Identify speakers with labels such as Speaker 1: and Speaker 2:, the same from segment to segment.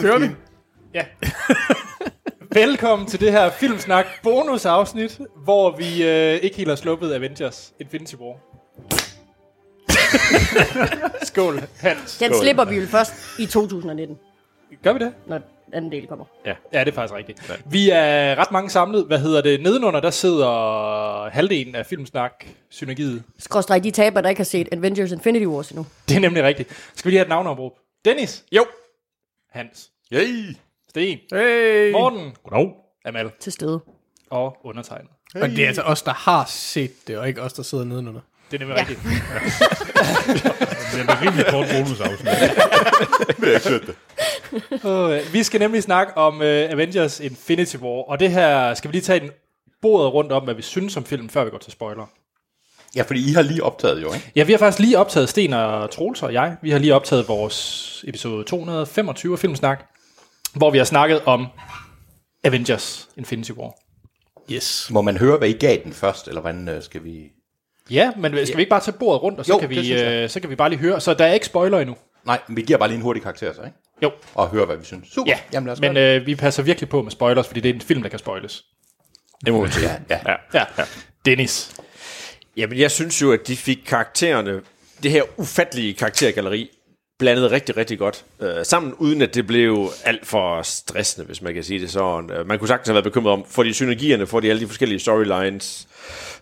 Speaker 1: Kører vi?
Speaker 2: Ja. Velkommen til det her Filmsnak bonusafsnit, hvor vi øh, ikke helt har sluppet Avengers Infinity War. Skål, Hans.
Speaker 3: Den slipper vi jo først i 2019,
Speaker 2: Gør vi det?
Speaker 3: når anden del kommer.
Speaker 2: Ja, det er faktisk rigtigt. Vi er ret mange samlet. Hvad hedder det? Nedenunder, der sidder halvdelen af Filmsnak Synergiet.
Speaker 3: Skråstrej de taber, der ikke har set Avengers Infinity Wars endnu.
Speaker 2: Det er nemlig rigtigt. Skal vi lige have et navneopråb? Dennis.
Speaker 1: Jo.
Speaker 2: Hans.
Speaker 1: Yay.
Speaker 2: Sten.
Speaker 1: Hey.
Speaker 2: Morten.
Speaker 4: Goddag.
Speaker 2: Amal.
Speaker 3: Til stede.
Speaker 2: Og undertegnet.
Speaker 5: Og det er altså os, der har set det, og ikke os, der sidder nedenunder.
Speaker 2: Det er nemlig
Speaker 3: Ja.
Speaker 2: rigtigt.
Speaker 4: Det er en rimelig kort bonusafsnit.
Speaker 2: Øh, Vi skal nemlig snakke om uh, Avengers Infinity War, og det her skal vi lige tage en bordet rundt om, hvad vi synes om filmen, før vi går til spoiler.
Speaker 1: Ja, fordi I har lige optaget jo, ikke?
Speaker 2: Ja, vi har faktisk lige optaget Sten og Troels og jeg. Vi har lige optaget vores episode 225 af Filmsnak, hvor vi har snakket om Avengers Infinity War.
Speaker 5: Yes.
Speaker 1: Må man høre, hvad I gav den først, eller hvordan øh, skal vi...
Speaker 2: Ja, men skal vi ikke bare tage bordet rundt, og så,
Speaker 1: Jo,
Speaker 2: kan,
Speaker 1: det
Speaker 2: vi,
Speaker 1: synes jeg.
Speaker 2: øh, så kan vi bare lige høre. Så der er ikke spoiler endnu.
Speaker 1: Nej, vi giver bare lige en hurtig karakter så, ikke?
Speaker 2: Jo,
Speaker 1: Og høre, hvad vi synes. Super.
Speaker 2: ja.
Speaker 1: Jamen, lad os
Speaker 2: men
Speaker 1: gøre det.
Speaker 2: øh, vi passer virkelig på med spoilers, fordi det er en film, der kan spoiles.
Speaker 6: Det må man sige.
Speaker 1: Ja, ja.
Speaker 6: Ja.
Speaker 2: øh, Ja, ja. Dennis.
Speaker 6: Jamen, jeg synes jo, at de fik karaktererne, det her ufattelige karaktergalleri, blandet rigtig, rigtig godt øh, sammen, uden at det blev alt for stressende, hvis man kan sige det sådan. Øh, Man kunne sagtens have været bekymret om, får de synergierne, får de alle de forskellige storylines,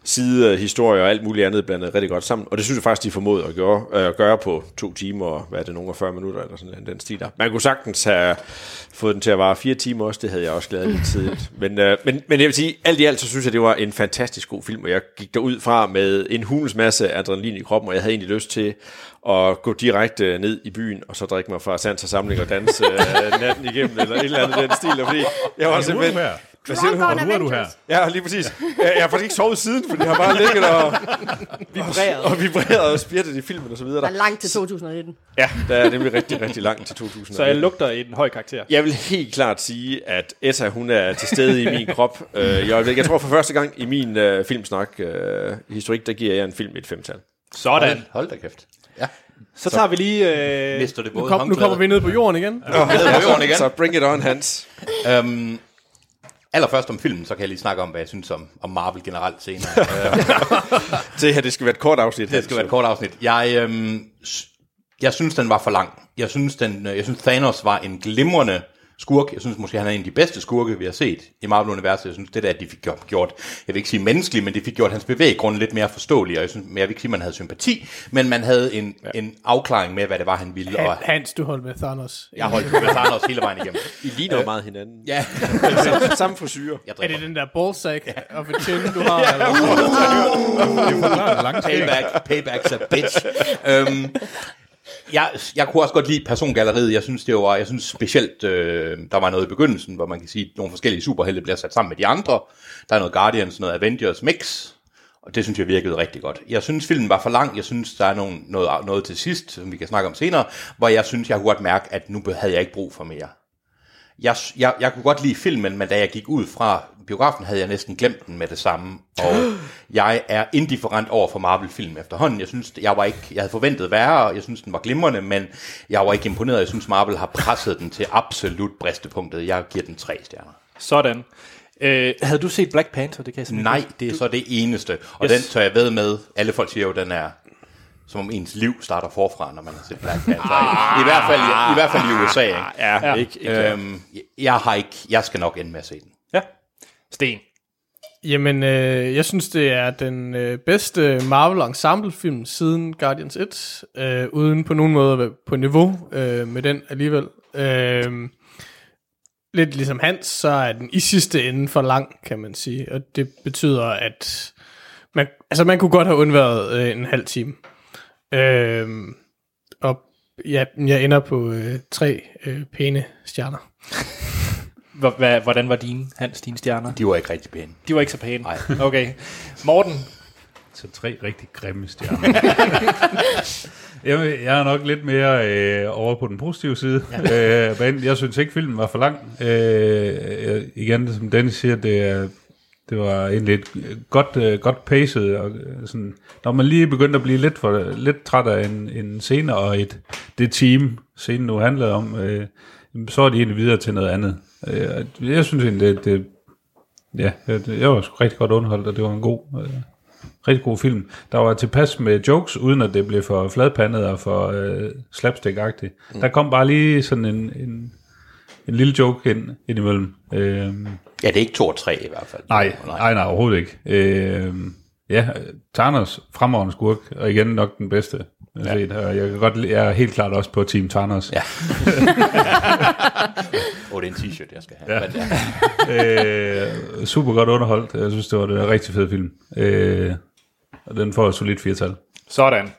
Speaker 6: sidehistorier og alt muligt andet blandet rigtig godt sammen. Og det synes jeg faktisk, de formåede at gøre, øh, at gøre på to timer, og hvad er det, nogle og 40 minutter eller sådan den- den stil der. Man kunne sagtens have fået den til at vare fire timer også, det havde jeg også glædet lidt tidligt. Men, øh, men, men jeg vil sige, alt i alt, så synes jeg, det var en fantastisk god film, og jeg gik derud fra med en hulens masse adrenalin i kroppen, og jeg havde egentlig lyst til at gå direkte ned i byen, og så drikke mig fra sans og samling og danse øh, natten igennem, eller et eller andet i den stil, og fordi jeg var
Speaker 4: Og nu er du
Speaker 6: simpelthen...
Speaker 4: her.
Speaker 6: Hvad siger du?
Speaker 3: Drunk on
Speaker 4: Nu er du her.
Speaker 3: Avengers.
Speaker 6: Ja, lige præcis. Jeg, jeg har faktisk ikke sovet siden, fordi jeg har bare ligget og vibreret og, vibreret og spirtet i filmen og så videre.
Speaker 3: Der
Speaker 6: Der.
Speaker 3: er langt til 2019.
Speaker 6: Ja, der er nemlig rigtig, rigtig langt til 2000.
Speaker 2: Så jeg lugter en høj karakter.
Speaker 6: Jeg vil helt klart sige, at Essa, hun er til stede i min krop øh, i øjeblikket. Jeg tror for første gang i min øh, filmsnak øh, historik, der giver jeg en film et femtal.
Speaker 2: Sådan.
Speaker 1: Hold da kæft. Ja.
Speaker 2: Så tager vi lige... Øh,
Speaker 1: Mister det
Speaker 5: Nu, kom, nu kommer vi ned på jorden igen.
Speaker 1: igen.
Speaker 6: Så bring it on, Hans.
Speaker 1: Øhm, allerførst om filmen, så kan jeg lige snakke om, hvad jeg synes om, om Marvel generelt senere.
Speaker 6: Det her, det skal være et kort afsnit.
Speaker 1: Det skal være et kort afsnit. Jeg, øhm, s- jeg synes, den var for lang. Jeg synes, den, øh, jeg synes, Thanos var en glimrende skurk. Jeg synes måske, han er en af de bedste skurke, vi har set i Marvel-universet. Jeg synes, det der, de fik gjort- gjort, jeg vil ikke sige menneskelig, men det fik gjort hans bevæggrunde lidt mere forståelig. Og jeg, synes, men jeg vil ikke sige, man havde sympati, men man havde en, ja. en afklaring med, hvad det var, han ville. Og
Speaker 5: Han, Hans, du holdt med Thanos.
Speaker 1: jeg holdt med Thanos hele vejen igennem.
Speaker 6: I ligner jo meget hinanden.
Speaker 1: Ja,
Speaker 6: Samme, samme frisyrer.
Speaker 1: jeg
Speaker 5: Er det
Speaker 1: drikker.
Speaker 5: den der ballsack of a chin, du har? Eller?
Speaker 1: Payback, payback's a bitch. øhm, jeg, jeg kunne også godt lide persongalleriet. Jeg synes, det var, jeg synes specielt, øh, der var noget i begyndelsen, hvor man kan sige, at nogle forskellige superhelte bliver sat sammen med de andre. Der er noget Guardians, noget Avengers mix, og det synes jeg virkede rigtig godt. Jeg synes, filmen var for lang. Jeg synes, der er nogle, noget, noget til sidst, som vi kan snakke om senere, hvor jeg synes, jeg kunne godt mærke, at nu havde jeg ikke brug for mere. Jeg, jeg, jeg kunne godt lide filmen, men da jeg gik ud fra biografen, havde jeg næsten glemt den med det samme. Og jeg er indifferent over for Marvel-film efterhånden. Jeg synes, jeg var ikke, jeg havde forventet værre, og jeg synes, den var glimrende, men jeg var ikke imponeret. Jeg synes, Marvel har presset den til absolut bristepunktet. Jeg giver den tre stjerner.
Speaker 2: Sådan. Øh, havde du set Black Panther? Det kan jeg simpelthen
Speaker 1: Nej,
Speaker 2: ikke.
Speaker 1: det er så det eneste. Og
Speaker 2: Yes.
Speaker 1: yes. den tør jeg ved med. Alle folk siger jo, den er som om ens liv starter forfra, når man har set Black Panther. ikke? I, hvert fald, i, I hvert fald i USA. Ikke?
Speaker 6: Ah, Ja,
Speaker 2: Ja.
Speaker 6: ja. Ikke, ikke.
Speaker 1: Øhm, jeg, har ikke, jeg skal nok ende med at se den.
Speaker 2: Ja. Sten.
Speaker 5: Jamen, øh, jeg synes, det er den øh, bedste Marvel Ensemble-film siden Guardians 1, øh, uden på nogen måde at være på niveau øh, med den alligevel. Øh, lidt ligesom Hans, så er den i sidste ende for lang, kan man sige. Og det betyder, at man, altså, man kunne godt have undværet øh, en halv time. Øh, og ja, jeg ender på øh, tre øh, pæne stjerner.
Speaker 2: H- hva- hvordan var dine, Hans, dine stjerner?
Speaker 1: De var ikke rigtig pæne.
Speaker 2: De var ikke så pæne.
Speaker 1: Nej.
Speaker 2: Okay. Morten.
Speaker 4: Så tre rigtig grimme stjerner. Jamen, jeg er nok lidt mere øh, over på den positive side, ja. øh, men jeg synes ikke, filmen var for lang. Øh, øh, igen, som Dennis siger, det, er, det var egentlig et godt, øh, godt paced. Og, øh, sådan, når man lige begyndte at blive lidt, for, lidt træt af en, en scene og et, det team, scenen nu handlede om, øh, jamen, så er de egentlig videre til noget andet. Øh, jeg synes egentlig, det, det, ja, jeg, jeg var sgu rigtig godt underholdt, og det var en god, øh, rigtig god film. Der var tilpas med jokes, uden at det blev for fladpandet og for øh, slapstick-agtigt. Mm. Der kom bare lige sådan en, en, en lille joke ind, ind imellem. Øh,
Speaker 1: Ja, det er ikke 2 og 3 i hvert fald.
Speaker 4: Nej, nej, nej, overhovedet ikke. Øh, ja, Tarnas fremragende skurk, og igen nok den bedste. Jeg, ja. set, og jeg, kan godt, lide- jeg er helt klart også på Team Tarnas.
Speaker 1: Ja. Åh, oh, det er en t-shirt, jeg skal have. Ja. Men, ja.
Speaker 4: Øh, super godt underholdt. Jeg synes, det var en rigtig fed film. Øh, og den får et solidt firtal.
Speaker 2: Sådan.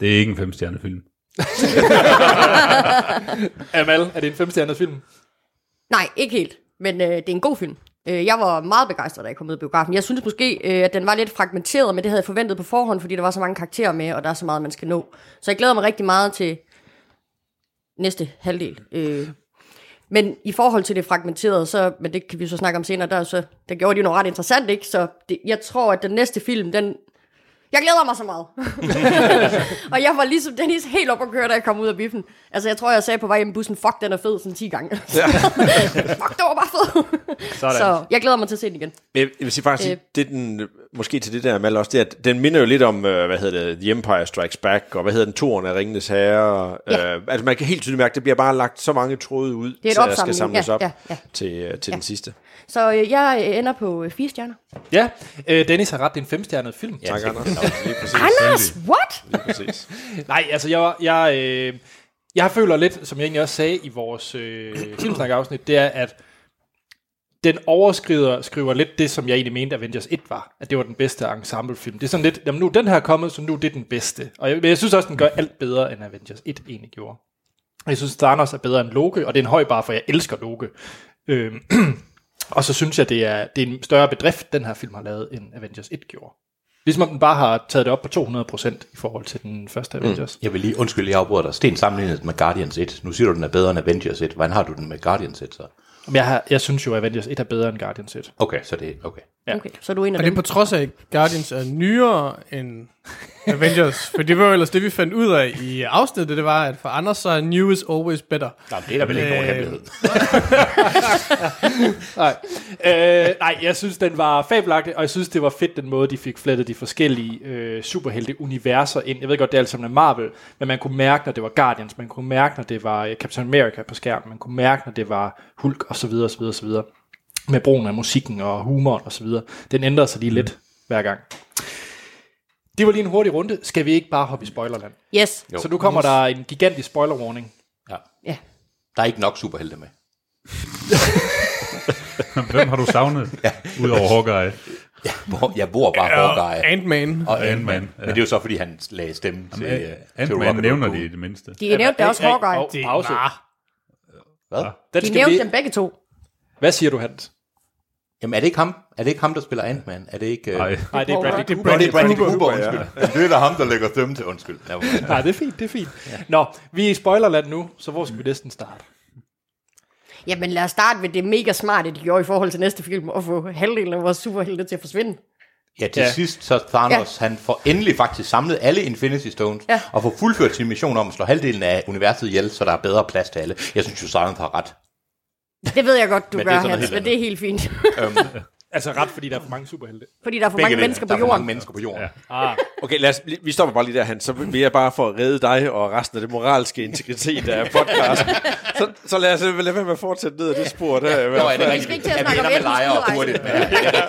Speaker 4: Det er ikke en femstjerne film.
Speaker 2: Amal, er det en femstjernet film?
Speaker 3: Nej, ikke helt. Men øh, det er en god film. Øh, jeg var meget begejstret, da jeg kom ud i biografen. Jeg synes måske, øh, at den var lidt fragmenteret, men det havde jeg forventet på forhånd, fordi der var så mange karakterer med, og der er så meget, man skal nå. Så jeg glæder mig rigtig meget til næste halvdel. Øh, men i forhold til det fragmenterede, så, men det kan vi så snakke om senere, der, er så, der gjorde de jo noget ret interessant, ikke? Så det, jeg tror, at den næste film, den... Jeg glæder mig så meget. og jeg var ligesom Dennis helt op at køre, da jeg kom ud af biffen. Altså, jeg tror, jeg sagde på vej hjem i bussen, fuck, den er fed, sådan 10 gange. fuck, det var bare fed.
Speaker 2: Sådan.
Speaker 3: Så jeg glæder mig til at se den igen.
Speaker 6: Men Jeg jeg vil sige faktisk, øh. det den, øh, måske til det der med også, det er, at den minder jo lidt om, øh, hvad hedder det, The Empire Strikes Back, og hvad hedder den, Toren af Ringenes Herre.
Speaker 3: Ja.
Speaker 6: Ja. Øh, altså man kan helt tydeligt mærke, at det bliver bare lagt så mange tråde ud,
Speaker 3: er et
Speaker 6: så der skal
Speaker 3: opsamling.
Speaker 6: samles
Speaker 3: Ja,
Speaker 6: op
Speaker 3: ja, ja.
Speaker 6: til, øh, til ja. den sidste.
Speaker 3: Så øh, jeg øh, ender på øh, fire stjerner.
Speaker 2: Ja, øh, Dennis har ret, det er en femstjernet film.
Speaker 6: Tak, Anders. Lige præcis.
Speaker 3: Anders, what?
Speaker 6: Lige præcis.
Speaker 2: Nej, altså jeg, jeg, øh, jeg føler lidt, som jeg egentlig også sagde i vores øh, filmsnak-afsnit, det er, at den overskrider skriver lidt det, som jeg egentlig mente, Avengers 1 var. At det var den bedste ensemblefilm. Det er sådan lidt, jamen nu er den her kommet, så nu er det den bedste. Og jeg, men jeg synes også, den gør alt bedre, end Avengers 1 egentlig gjorde. Jeg synes, Thanos er bedre end Loke, og det er en høj bar, for jeg elsker Loke. Øhm, og så synes jeg, det er, det er en større bedrift, den her film har lavet, end Avengers 1 gjorde. Ligesom om den bare har taget det op på 200% i forhold til den første Avengers.
Speaker 1: Jeg vil lige undskylde, jeg afbryder dig. Sten sammenlignet med Guardians 1. Nu siger du, den er bedre end Avengers 1. Hvordan har du den med Guardians 1 så?
Speaker 2: Men jeg, har, jeg synes jo, at Avengers 1 er bedre end Guardians 1.
Speaker 1: Okay, så det er okay.
Speaker 2: Ja.
Speaker 3: Okay, så er du en af
Speaker 5: Og det er
Speaker 3: dem.
Speaker 5: på trods af, at Guardians er nyere end Avengers. For det var jo ellers det, vi fandt ud af i afsnittet, det var, at for Anders så er new is always better.
Speaker 1: Jamen, det er der vel ikke nogen hemmelighed.
Speaker 2: Nej. Øh, nej, jeg synes, den var fabelagtig, og jeg synes, det var fedt, den måde, de fik flettet de forskellige øh, superhelte-universer ind. Jeg ved godt, det er alt sammen af Marvel, men man kunne mærke, når det var Guardians, man kunne mærke, når det var øh, Captain America på skærmen, man kunne mærke, når det var Hulk, osv., osv., osv. Med brugen af musikken og humoren osv. Den ændrede sig lige lidt hver gang. Det var lige en hurtig runde. Skal vi ikke bare hoppe i spoilerland?
Speaker 3: Yes.
Speaker 1: Jo.
Speaker 2: Så nu kommer der en gigantisk spoiler warning.
Speaker 1: Ja.
Speaker 3: Ja.
Speaker 1: Der er ikke nok superhelte med.
Speaker 4: Hvem har du savnet? ja. Udover Hawkeye
Speaker 1: Hvor, jeg bor bare Hawkeye
Speaker 5: Ant-Man.
Speaker 1: og
Speaker 4: Ant-Man,
Speaker 1: Ant-Man.
Speaker 4: ja.
Speaker 1: Men det er jo så, fordi han lagde stemme til, øh,
Speaker 4: Ja.
Speaker 1: til
Speaker 4: Ant-Man
Speaker 1: Rocket
Speaker 4: nævner
Speaker 1: Raccoon.
Speaker 4: de i det mindste.
Speaker 3: De nævnte da også Hawkeye.
Speaker 2: Oh, pause.
Speaker 1: Hvad?
Speaker 2: Den
Speaker 3: De
Speaker 2: skal vi...
Speaker 3: nævnte dem begge to.
Speaker 2: Hvad siger du, Hans?
Speaker 1: Jamen, er det ikke ham? Er det ikke ham, der spiller Ant-Man? Er det ikke... Øh...
Speaker 4: Nej.
Speaker 2: Nej, det er Bradley
Speaker 5: Det er
Speaker 1: Nå, det er Bradley
Speaker 5: Cooper.
Speaker 1: Cooper, undskyld. Det er da ham, der lægger stemme til undskyld. Ja, hvor-
Speaker 2: Nej, det er fint, det er fint. Nå, vi er i spoilerland nu, så hvor skal vi næsten starte?
Speaker 3: Jamen lad os starte med det mega smarte, de gjorde i forhold til næste film, at få halvdelen af vores superhelte til at forsvinde.
Speaker 1: Ja, til
Speaker 2: Ja.
Speaker 1: ja. sidst så Thanos, ja. han får endelig faktisk samlet alle Infinity Stones,
Speaker 3: Ja.
Speaker 1: ja. og får fuldført sin mission om at slå halvdelen af universet ihjel, så der er bedre plads til alle. Jeg synes jo, Thanos har ret.
Speaker 3: Det ved jeg godt, du
Speaker 1: Men det er
Speaker 3: gør,
Speaker 1: sådan noget
Speaker 3: Hans, men
Speaker 1: helt
Speaker 3: det er helt fint.
Speaker 2: Altså ret, fordi der er for mange superhelte.
Speaker 3: Fordi der er for
Speaker 1: Begge
Speaker 3: mange
Speaker 1: dele.
Speaker 3: mennesker på
Speaker 1: Der er for mange
Speaker 3: jorden.
Speaker 1: mennesker på jorden. Ja.
Speaker 2: Ah,
Speaker 6: Okay, lad os, lige- vi stopper bare lige der, Hans. Så vil jeg bare for at redde dig og resten af det moralske integritet af podcasten. Så, så lad os øh, lade være med at fortsætte ned ad det spor der. i hvert
Speaker 1: Nå, er det
Speaker 6: fald.
Speaker 3: Vi skal
Speaker 1: rigtigt?
Speaker 3: ikke til at
Speaker 1: Ja, vi
Speaker 3: snakke
Speaker 1: ender
Speaker 3: om
Speaker 1: med lejre og
Speaker 3: etnisk
Speaker 1: hurtigt. Ja, det er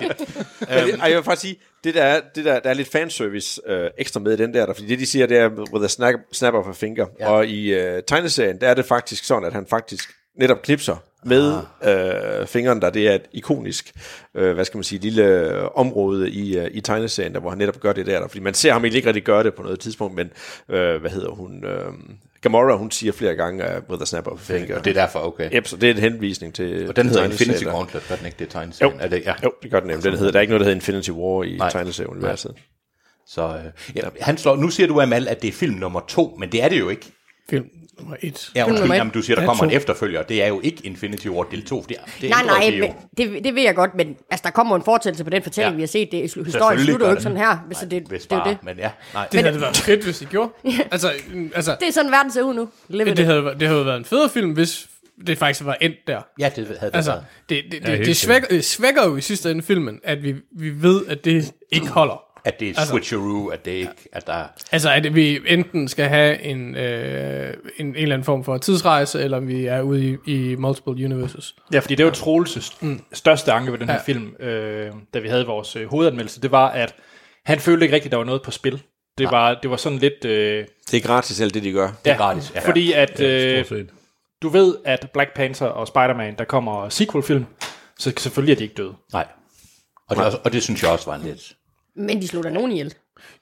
Speaker 1: rigtigt. Øhm.
Speaker 6: Ej, jeg vil faktisk sige, det der, er- det der, der er lidt fanservice øh, ekstra med i den der, der, fordi det de siger, det er, with a snap, snap of a finger, ja. og i øh, tegneserien, der er det faktisk sådan, at han faktisk netop knipser med
Speaker 1: Ah.
Speaker 6: øh, fingeren der, det er et ikonisk, øh, hvad skal man sige, lille øh, område i, øh, i tegneserien, der, hvor han netop gør det der, der, fordi man ser ham egentlig ikke rigtig gøre det på noget tidspunkt, men øh, hvad hedder hun, øh, Gamora, hun siger flere gange, øh, with a snap of a finger.
Speaker 1: Og det er derfor, okay.
Speaker 6: Yep, så det er en henvisning til
Speaker 1: Og den hedder
Speaker 6: til
Speaker 1: Infinity
Speaker 6: tegneserien.
Speaker 1: Gauntlet, gør den ikke det er
Speaker 6: Jo,
Speaker 1: tegneserien? Er det, ja.
Speaker 6: jo, det gør den nemlig. Den hedder, der er ikke noget, der hedder Infinity War i
Speaker 1: Nej.
Speaker 6: tegneserieuniverset.
Speaker 1: Så, øh, ja, han slår, nu siger du, Amal, at det er film nummer to, men det er det jo ikke.
Speaker 5: Film nummer et.
Speaker 1: Ja, undskyld,
Speaker 3: nummer et.
Speaker 1: jamen, du siger, der
Speaker 5: Ja,
Speaker 1: kommer en
Speaker 5: to.
Speaker 1: efterfølger. Det er jo ikke Infinity War del 2, for det, det
Speaker 3: Nej,
Speaker 1: ændrer
Speaker 3: nej,
Speaker 1: det jo.
Speaker 3: men det, det ved jeg godt, men altså, der kommer en fortællelse på den fortælling,
Speaker 1: Ja.
Speaker 3: ja. vi har set. Det, historien
Speaker 1: Selvfølgelig
Speaker 3: slutter jo
Speaker 1: gør
Speaker 3: ikke sådan
Speaker 1: den.
Speaker 3: her, så det,
Speaker 1: Hvis
Speaker 3: det er jo
Speaker 1: bare,
Speaker 3: det.
Speaker 1: men ja. Nej.
Speaker 5: Det havde været fedt, hvis de gjorde. Altså, mm, altså
Speaker 3: Det er sådan, verden ser ud nu. Live
Speaker 5: det,
Speaker 3: det.
Speaker 5: havde, det havde været en federe film, hvis det faktisk var endt der.
Speaker 1: Ja, det havde det
Speaker 5: Altså,
Speaker 1: været.
Speaker 5: det, det,
Speaker 4: helt
Speaker 5: det, det
Speaker 4: sikkert.
Speaker 5: svækker, det svækker jo i sidste ende filmen, at vi, vi ved, at det ikke holder.
Speaker 1: At det er
Speaker 5: altså-
Speaker 1: switcheroo, at det ikke, at der...
Speaker 5: Altså, at vi enten skal have en, øh, en, en eller anden form for tidsrejse, eller om vi er ude i, i multiple universes.
Speaker 2: Ja, fordi det var Troelses mm, største anke ved den her ja. film, øh, da vi havde vores øh, hovedanmeldelse, det var, at han følte ikke rigtigt, at der var noget på spil. Det var, det var sådan lidt... Øh,
Speaker 6: Det er gratis alt det, de gør.
Speaker 1: Det er gratis, ja.
Speaker 2: Fordi at
Speaker 4: Øh,
Speaker 2: øh, du ved, at Black Panther og Spider-Man, der kommer sequel-film, så selvfølgelig er de ikke døde.
Speaker 1: Nej. Og det, er også- og det synes jeg også var en lidt...
Speaker 3: Men de slog da nogen ihjel.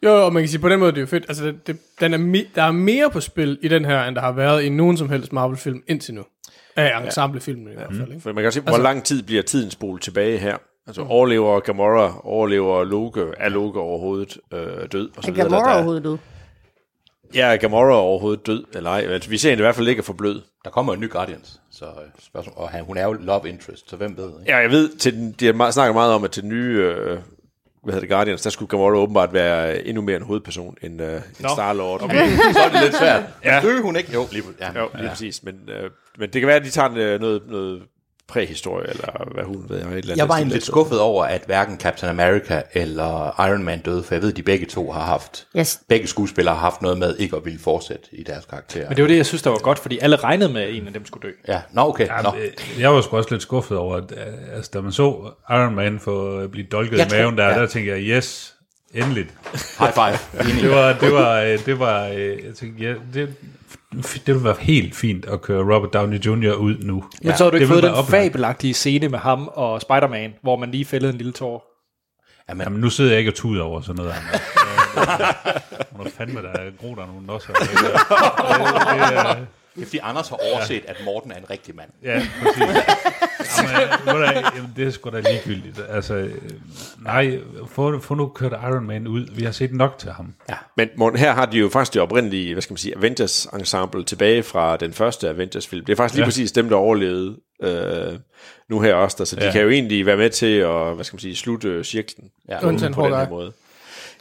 Speaker 5: Jo, og man kan sige, på den måde, det er jo fedt. Altså, det, det, den er me, der er mere på spil i den her, end der har været i nogen som helst Marvel-film indtil nu. Af ensemblefilmen i hvert fald, ikke?
Speaker 6: For man kan se, hvor altså, lang tid bliver tiden spolet tilbage her. Altså overlever Gamora, overlever Loke, er Loke overhovedet øh, død? Og så
Speaker 3: Er
Speaker 6: videre.
Speaker 3: Gamora
Speaker 6: Der-
Speaker 3: overhovedet død?
Speaker 6: Ja, er Gamora overhovedet død, eller ej? Altså, vi ser hende i hvert fald ikke er for blød.
Speaker 1: Der kommer en ny Guardians, så øh, spørgsmål... Og han, hun er jo love interest, så hvem ved, ikke?
Speaker 6: Ja, jeg ved, til den, de har meget- snakker meget om, at til den nye øh, hvad hedder det, Guardians, der skulle Gamora åbenbart være endnu mere en hovedperson end, øh, end Star-Lord. Okay.
Speaker 1: Så er det lidt svært. Ja. Døde hun ikke? Jo, lige, ja.
Speaker 6: Jo, lige ja. præcis. Men, øh, men det kan være, at de tager en, øh, noget, noget præhistorie, eller hvad hun ved. Eller et eller andet
Speaker 1: Jeg var
Speaker 6: stil.
Speaker 1: egentlig lidt skuffet over, at hverken Captain America eller Iron Man døde, for jeg ved, at de begge to har haft,
Speaker 3: Yes.
Speaker 1: begge skuespillere har haft noget med ikke at ville fortsætte i deres karakterer.
Speaker 2: Men det var det, jeg synes, der var godt, fordi alle regnede med, at en af dem skulle dø.
Speaker 1: Ja, nå okay, nå.
Speaker 4: Øh, Jeg var sgu også lidt skuffet over, at øh, altså, da man så Iron Man få øh, blive dolket
Speaker 1: Jeg
Speaker 4: i
Speaker 1: tror-
Speaker 4: maven der,
Speaker 1: ja.
Speaker 4: ja. der tænkte jeg, yes, endeligt.
Speaker 1: High five. Enig.
Speaker 4: Det var, det var, øh, det var øh, jeg tænkte, ja, det, det ville være helt fint at køre Robert Downey Jr. ud nu.
Speaker 2: Men så har du ikke
Speaker 4: Det ville
Speaker 2: fået
Speaker 4: være
Speaker 2: den
Speaker 4: oplagt.
Speaker 2: fabelagtige scene med ham og Spider-Man, hvor man lige fældede en lille tår.
Speaker 4: Jamen, nu sidder jeg ikke og tuder over sådan noget. Anders. Øh, Hun er fandme, der er gro, der er nogen også.
Speaker 1: Det er fordi, Anders har overset, at Morten er en rigtig mand.
Speaker 4: Ja, præcis. Jamen, øh, ved du hvad, jamen, det er sgu da ligegyldigt. Altså, øh, nej, få, få nu kørt Iron Man ud. Vi har set nok til ham.
Speaker 6: Men Morten, her har de jo faktisk det oprindelige, hvad skal man sige, Avengers-ensemble tilbage fra den første Avengers-film. Det er faktisk lige ja.
Speaker 4: Ja.
Speaker 6: præcis dem, der overlevede øh, nu her også. Der. Så de
Speaker 4: Ja.
Speaker 6: kan jo egentlig være med til at, hvad skal man sige, slutte cirklen
Speaker 1: Ja.
Speaker 6: på, på
Speaker 5: Undtagen
Speaker 6: den her
Speaker 5: Hawkeye.
Speaker 6: måde.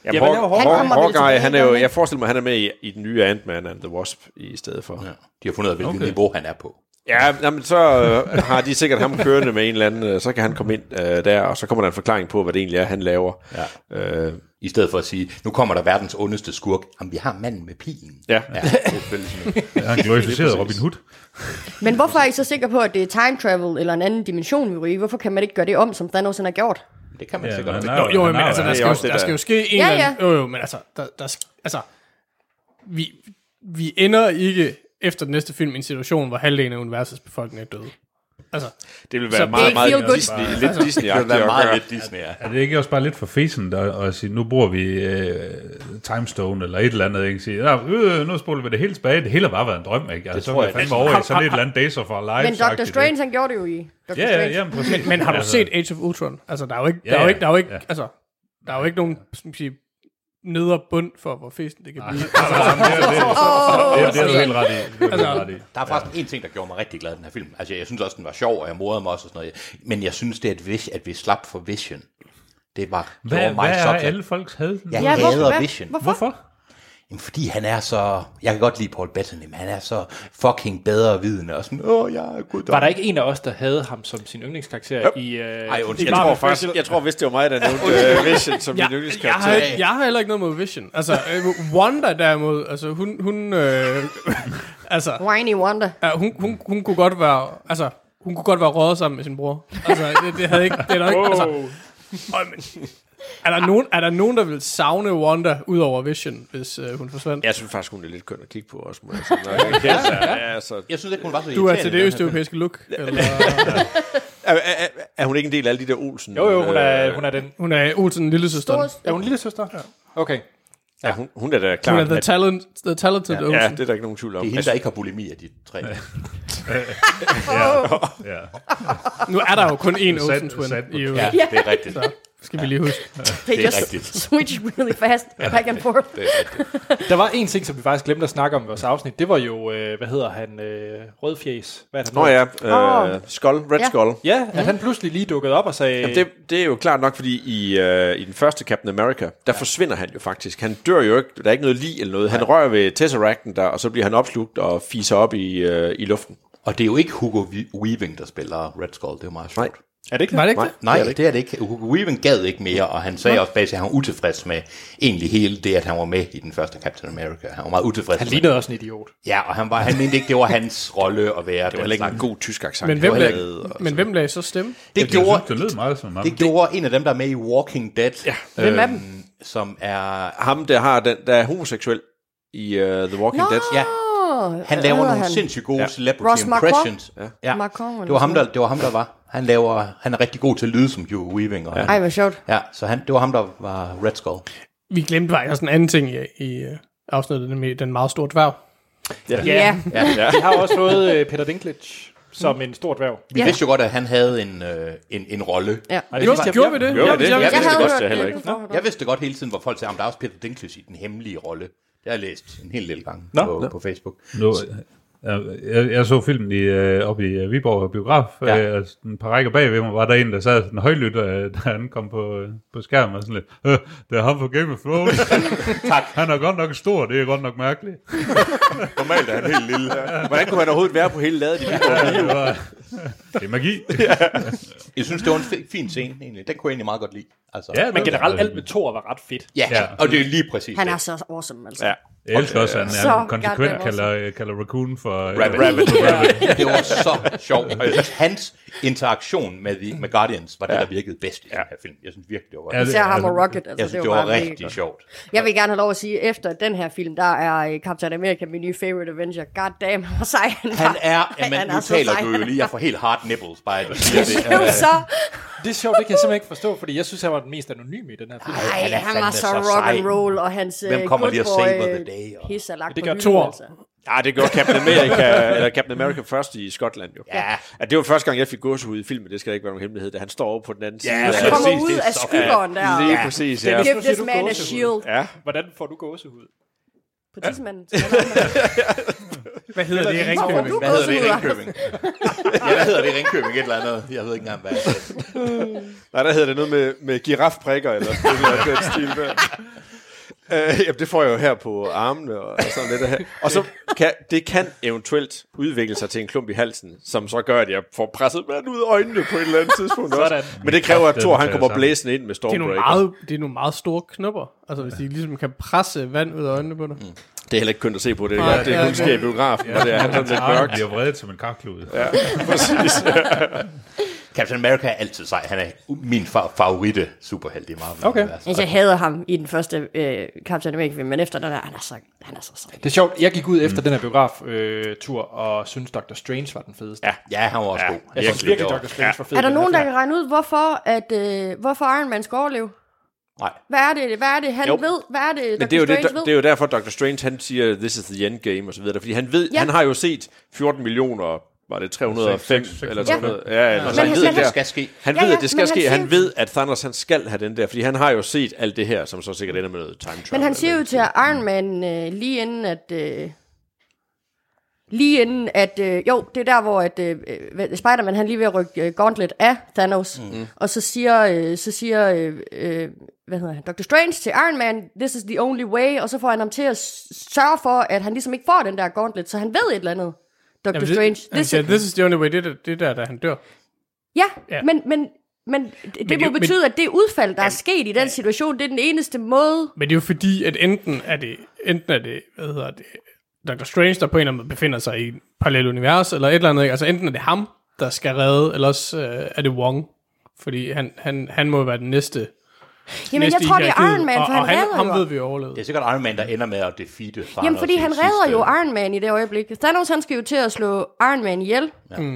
Speaker 2: Ja,
Speaker 6: Ja,
Speaker 2: hvad
Speaker 6: Haw-
Speaker 2: laver
Speaker 6: Haw-
Speaker 2: Hawkeye?
Speaker 3: Han kommer vel
Speaker 6: Hawkeye,
Speaker 3: tilbage
Speaker 6: han er jo,
Speaker 3: igen,
Speaker 6: jeg forestiller mig, at han er med i, i den nye Ant-Man and the Wasp i stedet for. Ja,
Speaker 1: De har fundet ud af, hvilket okay. niveau han er på.
Speaker 6: ja jamen, så øh, har de sikkert ham kørende med en eller anden, øh, så kan han komme ind øh, der, og så kommer der en forklaring på, hvad det egentlig er, han laver. Ja. Øh,
Speaker 1: I stedet for at sige, nu kommer der verdens ondeste skurk. Jamen, vi har manden med pilen.
Speaker 6: ja.
Speaker 1: Ja, det er selvfølgelig sådan noget.
Speaker 4: Jeg har en glorificeret Robin Hood.
Speaker 3: Men hvorfor er I så sikre på, at det er time travel eller en anden dimension, vi ryger i? Hvorfor kan man ikke gøre det om, som Thanos han har gjort?
Speaker 1: Det kan man
Speaker 4: Ja,
Speaker 1: sikkert
Speaker 4: men
Speaker 1: også.
Speaker 4: nej.
Speaker 5: Jo, jo, men
Speaker 4: nej,
Speaker 5: altså,
Speaker 4: nej,
Speaker 5: der
Speaker 6: det er
Speaker 5: skal, jo,
Speaker 6: også det
Speaker 5: der
Speaker 6: der.
Speaker 5: skal jo ske en
Speaker 3: Ja,
Speaker 5: ja, eller anden...
Speaker 3: ja.
Speaker 5: Jo, jo, men altså, der, der, sk- altså vi, vi ender ikke efter den næste film i en situation, hvor halvdelen af universets befolkning er døde. Altså,
Speaker 6: Det vil
Speaker 5: Så
Speaker 6: være
Speaker 5: det
Speaker 6: meget,
Speaker 3: ikke feel
Speaker 6: meget
Speaker 3: good.
Speaker 6: Disney, lidt Disney-agtigt
Speaker 1: Det er
Speaker 6: at
Speaker 1: meget
Speaker 6: gøre.
Speaker 1: lidt Disney, ja.
Speaker 4: Er det ikke også bare lidt for fesen at, at sige, nu bruger vi øh, Timestone eller et eller andet, ikke? Sige, "Nå, øh, nu spoler vi det hele tilbage. Det hele har bare været en drøm, ikke? Altså, så
Speaker 1: tror
Speaker 4: er vi
Speaker 1: jeg,
Speaker 4: fandme over i sådan et eller andet Days of Our Lives.
Speaker 3: Men Dr. Strange, han gjorde det jo i Dr.
Speaker 4: Ja, ja,
Speaker 3: Strange.
Speaker 4: jamen, præcis.
Speaker 5: men har du
Speaker 4: Altså,
Speaker 5: set Age of Ultron? Altså, der er jo ikke,
Speaker 4: Ja,
Speaker 5: der er jo
Speaker 4: ja,
Speaker 5: ikke, der er jo ikke,
Speaker 4: ja.
Speaker 5: altså, der er jo ikke nogen, som sige, nedre bund for, hvor festen det kan blive.
Speaker 4: Det, det, det er du helt ret i. Det er du helt ret i.
Speaker 1: Der er faktisk en ting, der gjorde mig rigtig glad i den her film. Altså, jeg synes også, den var sjov, og jeg morede mig også og sådan noget. Men jeg synes, det er et vis, at vi slap for Vision. Det var
Speaker 4: Hvad,
Speaker 1: gjorde mig
Speaker 4: hvad er
Speaker 1: så glad.
Speaker 4: alle folks had?
Speaker 3: Ja,
Speaker 1: Jeg ja,
Speaker 3: hvorfor-
Speaker 1: hader
Speaker 3: hvad-
Speaker 1: Vision.
Speaker 3: hvorfor?
Speaker 4: Hvorfor?
Speaker 1: Jamen, fordi han er så... Jeg kan godt lide Paul Bettany, men han er så fucking bedre vidende. Og sådan, åh, jeg er gud.
Speaker 2: Var der ikke en af os, der havde ham som sin yndlingskarakter yep. i... Øh,
Speaker 1: Ej, undskyld.
Speaker 2: i
Speaker 6: Jeg
Speaker 2: Marvel
Speaker 6: tror
Speaker 2: First-
Speaker 6: faktisk, jeg tror vist, det var mig, der nævnte uh, Vision som min
Speaker 5: jeg, har,
Speaker 6: yndlingskarakter.
Speaker 5: jeg har heller ikke noget mod Vision. Altså, øh, Wanda derimod, altså, hun, hun, øh, altså,
Speaker 3: Whiny Wonder.
Speaker 5: Ja, hun, hun, hun kunne godt være, altså, hun kunne godt være røget sammen med sin bror. Altså, det, det havde ikke, det er der ikke, altså, øj, men, er, der nogen, er der nogen, der vil savne Wanda ud over Vision, hvis øh, hun forsvandt? Ja.
Speaker 6: Jeg synes faktisk, hun er lidt køn at kigge på også. Må jeg sige. Når jeg kender sig, ja, så-
Speaker 1: Jeg synes ikke, hun var så
Speaker 5: Du er til
Speaker 1: irriterende.
Speaker 5: det østeuropæiske look, eller
Speaker 6: Er- er- er- Er hun ikke en del af alle de der Olsen?
Speaker 2: Jo, jo, hun er,
Speaker 6: øh,
Speaker 2: hun er den...
Speaker 5: hun er Olsen lille søster.
Speaker 3: Store,
Speaker 5: Hun
Speaker 2: Er hun lille søster? Ja. Okay.
Speaker 6: Ja, hun, hun er da
Speaker 5: er
Speaker 6: klart.
Speaker 5: the,
Speaker 6: at-
Speaker 5: talent, the talented ja,
Speaker 6: Ja,
Speaker 5: Olsen.
Speaker 6: det er der ikke nogen tvivl om.
Speaker 1: Det er hende,
Speaker 6: Altså,
Speaker 1: der ikke har bulimi af de tre.
Speaker 4: Ja.
Speaker 5: Nu er der jo kun én
Speaker 4: Sat-
Speaker 5: Olsen twin.
Speaker 4: sat på-
Speaker 5: i øvrigt.
Speaker 1: Ja, det er rigtigt.
Speaker 5: Skal vi lige huske.
Speaker 3: They
Speaker 1: Det er
Speaker 3: just
Speaker 1: rigtigt.
Speaker 3: switch really fast back and forth.
Speaker 1: Det er rigtigt.
Speaker 2: Der var en ting, som vi faktisk glemte at snakke om i vores afsnit. Det var jo, øh, hvad hedder han? Øh, Rødfjes. Hvad er det, han
Speaker 6: Nå
Speaker 2: hedder?
Speaker 6: ja, øh, Skull, Red
Speaker 3: Ja.
Speaker 6: Skull.
Speaker 2: Ja, at han pludselig lige dukkede op og sagde...
Speaker 6: Jamen, det, det er jo klart nok, fordi i, øh, i den første Captain America, der ja. forsvinder han jo faktisk. Han dør jo ikke, der er ikke noget lig eller noget. Han rører ved Tesseracten der, og så bliver han opslugt og fiser op i, øh, i luften.
Speaker 1: Og det er jo ikke Hugo Vi- Weaving, der spiller Red Skull. Det er jo meget sjovt.
Speaker 6: Nej.
Speaker 7: Er det ikke
Speaker 5: Var det ikke
Speaker 6: Nej,
Speaker 5: det?
Speaker 1: Nej,
Speaker 6: det er det
Speaker 1: det er det ikke. Hugo Weaving gad ikke mere, og han sagde også bag sig, at han var utilfreds med egentlig hele det, at han var med i den første Captain America. Han var meget utilfreds
Speaker 2: Han
Speaker 1: med-
Speaker 2: lignede også en idiot.
Speaker 1: Ja, og han, var, han mente ikke, det var hans rolle at være
Speaker 7: var heller ikke en
Speaker 1: slags.
Speaker 7: god tysk accent.
Speaker 5: Men hvem,
Speaker 7: Det var heller
Speaker 5: lag, men hvem lagde så stemme?
Speaker 1: Det
Speaker 4: Jeg
Speaker 1: gjorde,
Speaker 4: synes, det lød meget som ham.
Speaker 1: det gjorde en af dem, der er med i Walking Dead. Ja.
Speaker 3: Hvem er
Speaker 1: Som er...
Speaker 6: Ham, der, har den, der er homoseksuel i uh, The Walking
Speaker 3: Nå,
Speaker 6: Dead.
Speaker 1: Ja, han laver
Speaker 3: hedder
Speaker 1: nogle han?
Speaker 3: han?
Speaker 1: sindssygt gode ja. celebrity
Speaker 3: Ross Marquand?
Speaker 1: impressions. Ja. Ja.
Speaker 3: Marquand eller
Speaker 1: Det var ham,
Speaker 3: sådan
Speaker 1: der, det var ham, der var. Han, laver, han er rigtig god til at lyde som Hugh Weaving. Og ja.
Speaker 3: Ej,
Speaker 1: Han,
Speaker 3: hvor sjovt.
Speaker 1: ja, så han, det var ham, der var Red Skull.
Speaker 5: Vi glemte faktisk en anden ting i, i øh, afsnittet, nemlig den meget store dværg.
Speaker 2: Ja, ja.
Speaker 3: ja.
Speaker 2: vi har også fået øh, Peter Dinklage som en stor dværg.
Speaker 1: Vi
Speaker 3: Ja.
Speaker 1: ja. vidste jo godt, at han havde en, øh, en, en rolle.
Speaker 3: ja.
Speaker 2: Ej,
Speaker 5: Jo,
Speaker 2: vidste jeg-
Speaker 5: gjorde vi det?
Speaker 6: Gjorde vi det?
Speaker 5: Ja,
Speaker 6: Jeg
Speaker 3: Jeg
Speaker 6: vidste
Speaker 3: havde
Speaker 6: godt,
Speaker 3: hørt
Speaker 6: det heller
Speaker 3: det
Speaker 6: ikke.
Speaker 3: på forhånd.
Speaker 1: Jeg vidste godt hele tiden, hvor folk sagde, at der er også Peter Dinklage i den hemmelige rolle. Det har jeg læst en hel del gange
Speaker 2: Nå.
Speaker 1: på, på Facebook.
Speaker 4: Nu, øh, jeg, jeg så filmen i, øh, op i øh, Viborg Biograf,
Speaker 1: Ja.
Speaker 4: ja. øh, og sådan et par rækker bagved mig var der en, der sad sådan højlydt, øh, da han kom på, øh, på skærmen og sådan lidt, øh, det er ham fra Game of Thrones. tak. Han er godt nok stor, det er godt nok mærkeligt.
Speaker 6: Normalt er han helt lille. Hvordan kunne han overhovedet være på hele ladet i Viborg?
Speaker 4: Det, var, det er magi.
Speaker 1: Jeg synes, det var en fi- fin scene, egentlig. Den kunne jeg egentlig meget godt lide. Altså,
Speaker 2: Men generelt, alt med Thor var ret fedt.
Speaker 1: Ja,
Speaker 4: Ja.
Speaker 1: ja, og det er lige præcis
Speaker 3: Han
Speaker 1: det.
Speaker 3: er så awesome, altså.
Speaker 6: Ja.
Speaker 4: Jeg elsker også, at han,
Speaker 3: Så
Speaker 4: han konsekvent
Speaker 3: goddamn
Speaker 4: kalder, øh, kalder Raccoon for... øh,
Speaker 1: Rabbit. Rabbit. Ja. Det var så sjovt. Og jeg synes, hans interaktion med, the, med Guardians var det, der virkede bedst i den her film. Jeg synes virkelig, det var godt.
Speaker 4: Ja, det-
Speaker 3: Især ham og
Speaker 4: altså,
Speaker 3: Rocket. Altså,
Speaker 1: Jeg synes, det
Speaker 3: jo
Speaker 1: var
Speaker 3: bare mega
Speaker 1: rigtig
Speaker 3: godt.
Speaker 1: sjovt.
Speaker 3: Jeg vil gerne have lov at sige, at efter den her film, der er øh, Captain America min nye favorite Avenger. God damn, hvor sej han var.
Speaker 1: Han er,
Speaker 3: Ej,
Speaker 1: men
Speaker 3: han
Speaker 1: nu
Speaker 3: er så
Speaker 1: taler
Speaker 3: sej,
Speaker 1: du
Speaker 3: han
Speaker 1: jo
Speaker 3: er.
Speaker 1: lige, jeg får helt hard nipples, bare at du siger
Speaker 3: Det
Speaker 1: det.
Speaker 3: er jo så...
Speaker 2: Det er sjovt, det kan jeg simpelthen ikke forstå, fordi jeg synes, han var den mest anonyme i den her film.
Speaker 3: Ej,
Speaker 1: han er
Speaker 3: han, var
Speaker 1: fandme
Speaker 3: så
Speaker 1: så
Speaker 3: rock and
Speaker 1: sej.
Speaker 3: roll, og hans øh,
Speaker 1: Hvem kommer
Speaker 3: good
Speaker 1: lige og
Speaker 3: boy,
Speaker 1: saver the
Speaker 3: øh,
Speaker 1: day, og-
Speaker 3: Pis er lagt
Speaker 2: det
Speaker 3: på
Speaker 2: gør
Speaker 3: hylden,
Speaker 5: Thor.
Speaker 3: altså.
Speaker 6: Ja, det gjorde Captain America, eller Captain America først i Skotland jo.
Speaker 1: Ja.
Speaker 6: At det var første gang, jeg fik gåsehud i filmen, det skal da ikke være nogen hemmelighed, da han står over på den anden side.
Speaker 1: Ja,
Speaker 6: af-
Speaker 1: så
Speaker 3: Han kommer
Speaker 1: præcis,
Speaker 3: ud
Speaker 1: det er
Speaker 3: af
Speaker 1: så-
Speaker 3: skyggeren der.
Speaker 6: Lige
Speaker 3: og-
Speaker 6: præcis, ja.
Speaker 3: Give
Speaker 2: siger
Speaker 3: this
Speaker 2: du
Speaker 3: man a
Speaker 2: gåsehud.
Speaker 3: shield.
Speaker 6: Ja,
Speaker 2: Hvordan får du gåsehud?
Speaker 3: På tidsmanden.
Speaker 5: Hvad hedder det i
Speaker 3: Hvorfor
Speaker 5: Ringkøbing?
Speaker 3: du
Speaker 1: Hvad hedder det i
Speaker 3: gåsehud?
Speaker 1: Ringkøbing? ja, hvad hedder det i Ringkøbing? Et eller andet. Jeg ved ikke engang, hvad det er.
Speaker 6: Nej, der hedder det noget med, med girafprikker, eller sådan noget, den stil der. Øh, jamen, det får jeg jo her på armene og sådan lidt her. Og så kan, det kan eventuelt udvikle sig til en klump i halsen, som så gør, at jeg får presset vand ud af øjnene på et eller andet tidspunkt
Speaker 2: Sådan.
Speaker 6: også. Men det kræver, at
Speaker 4: Det
Speaker 6: Thor han
Speaker 4: tager
Speaker 6: kommer
Speaker 4: sammen.
Speaker 6: blæsende ind med
Speaker 5: Det er, nogle
Speaker 6: Stormbreaker.
Speaker 5: meget, det er nogle meget store knopper. Altså, hvis de ligesom kan presse vand ud af øjnene på dig.
Speaker 6: Det er heller ikke kønt at se på, det er, godt. det er kun sker i biografen, og det er sådan lidt
Speaker 4: Han
Speaker 6: mørkt.
Speaker 4: bliver vredet som en karklud. Ja.
Speaker 1: Captain America er altid sej. Han er min fa- favoritte superhelt i Marvel.
Speaker 2: Okay.
Speaker 3: Altså, jeg hader ham i den første øh, Captain America-film, men efter den der, han er så, han er så sej.
Speaker 2: Det er sjovt, jeg gik ud efter mm. den her biograftur og synes, Dr. Strange var den fedeste. Ja,
Speaker 1: Ja, han var også ja, god.
Speaker 2: jeg synes virkelig, Dr. Strange var fed.
Speaker 3: Er der
Speaker 2: i den
Speaker 3: nogen,
Speaker 2: her
Speaker 3: der kan regne ud, hvorfor, at, øh, hvorfor Iron Man skal overleve?
Speaker 1: Nej.
Speaker 3: Hvad er det, hvad er det han
Speaker 6: Jo.
Speaker 3: jo. ved? Hvad er det,
Speaker 6: Men det er, jo
Speaker 3: Strange
Speaker 6: det,
Speaker 3: ved?
Speaker 6: det er jo derfor, Dr. Strange han siger, this is the end game, og så videre. Fordi han ved, ja.
Speaker 3: Ja.
Speaker 6: han har jo set 14 millioner, var det 305
Speaker 4: Seks- seks-
Speaker 6: eller
Speaker 4: seks-
Speaker 6: 300? Ja, ja, ja. Så
Speaker 1: Men
Speaker 6: han
Speaker 1: han
Speaker 6: ved,
Speaker 1: ved, at
Speaker 6: at det
Speaker 1: det
Speaker 6: er-
Speaker 1: skal ske.
Speaker 6: han
Speaker 3: Ja,
Speaker 6: ved,
Speaker 3: ja,
Speaker 6: at det skal
Speaker 3: men
Speaker 6: ske.
Speaker 3: han
Speaker 6: Han
Speaker 3: siger-
Speaker 6: ved, at Thanos han skal have den der, fordi han har jo set alt det her, som så sikkert ender med noget time travel.
Speaker 3: Men han siger jo
Speaker 6: eller-
Speaker 3: til Iron Man øh, lige inden, at... Øh, lige inden, at... Øh, jo, det er der, hvor at, øh, hvad- Spider-Man han er lige ved at rykke øh, Gauntlet af Thanos. Mm. Og så siger, øh, så siger øh, øh, hvad hedder han, Dr. Strange til Iron Man, this is the only way, og så får han ham til at s- sørge for, at han ligesom ikke får den der Gauntlet, så han ved et eller andet. Dr.
Speaker 5: Jamen,
Speaker 3: Strange.
Speaker 5: det, jamen,
Speaker 3: This
Speaker 5: siger,
Speaker 3: is,
Speaker 5: this is the only way, det er det er der, da han dør.
Speaker 3: ja,
Speaker 5: Ja.
Speaker 3: men, men, men det, det
Speaker 5: jo-
Speaker 3: må
Speaker 5: men-
Speaker 3: betyde, at det udfald, der er sket i den situation, det er den eneste måde,
Speaker 5: Men det er jo fordi, at enten er det, enten er det, hvad hedder det, Dr. Strange, der på en eller anden måde befinder sig i et parallelt univers, eller et eller andet, ikke? altså enten er det ham, der skal redde, eller også øh, er det Wong, fordi han, han, han må jo være den næste.
Speaker 3: Jamen,
Speaker 5: næste
Speaker 3: jeg
Speaker 5: i
Speaker 3: tror, det er
Speaker 5: hierarkiet,
Speaker 3: Iron Man,
Speaker 5: og,
Speaker 3: for
Speaker 5: og
Speaker 3: han,
Speaker 5: han,
Speaker 3: redder
Speaker 5: ham
Speaker 3: jo.
Speaker 5: ved vi jo overlevet.
Speaker 1: Det er sikkert Iron Man, der ender med at defeate Thanos.
Speaker 3: Jamen, fordi
Speaker 1: i
Speaker 3: han
Speaker 1: sidste-
Speaker 3: redder jo Iron Man i det øjeblik. Thanos, han skal jo til at slå Iron Man ihjel. Ja.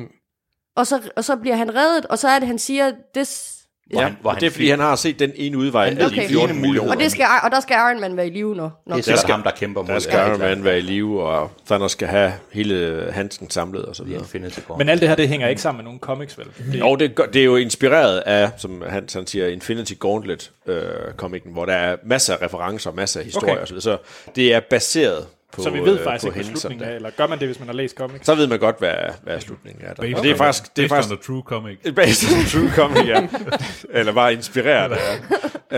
Speaker 3: Og, så, og så bliver han reddet, og så er det, han siger, this...
Speaker 1: Hvor
Speaker 6: Ja,
Speaker 1: han, hvor han
Speaker 6: det er, fordi han har set den ene udvej af de
Speaker 3: Okay.
Speaker 6: 14 millioner.
Speaker 3: Og, det skal, og der skal Iron Man være i live nu. Nok.
Speaker 1: Det er sikkert
Speaker 6: skal-
Speaker 1: ham, der kæmper mod
Speaker 6: Der skal Iron
Speaker 1: Atlas.
Speaker 6: Man være i live, og Thanos skal have hele handsken samlet og så videre.
Speaker 1: Infinity War.
Speaker 2: Men alt det her, det hænger ikke sammen med nogen comics, vel? Det,
Speaker 6: Jo, det, gør- det er jo inspireret af, som han, han siger, Infinity Gauntlet øh, komikeren, hvor der er masser af referencer, masser af historier
Speaker 2: Okay.
Speaker 6: okay. osv. Så det er baseret på
Speaker 2: så vi ved
Speaker 6: øh,
Speaker 2: faktisk ikke, hvad
Speaker 6: hændelser
Speaker 2: slutningen
Speaker 6: der.
Speaker 2: er, eller gør man det, hvis man har læst comics?
Speaker 6: Så ved man godt, hvad, hvad er slutningen er. Der. Og det er faktisk... Det er
Speaker 4: Based
Speaker 6: faktisk
Speaker 4: on the true comic.
Speaker 6: based on true comic, ja. Eller bare inspireret af.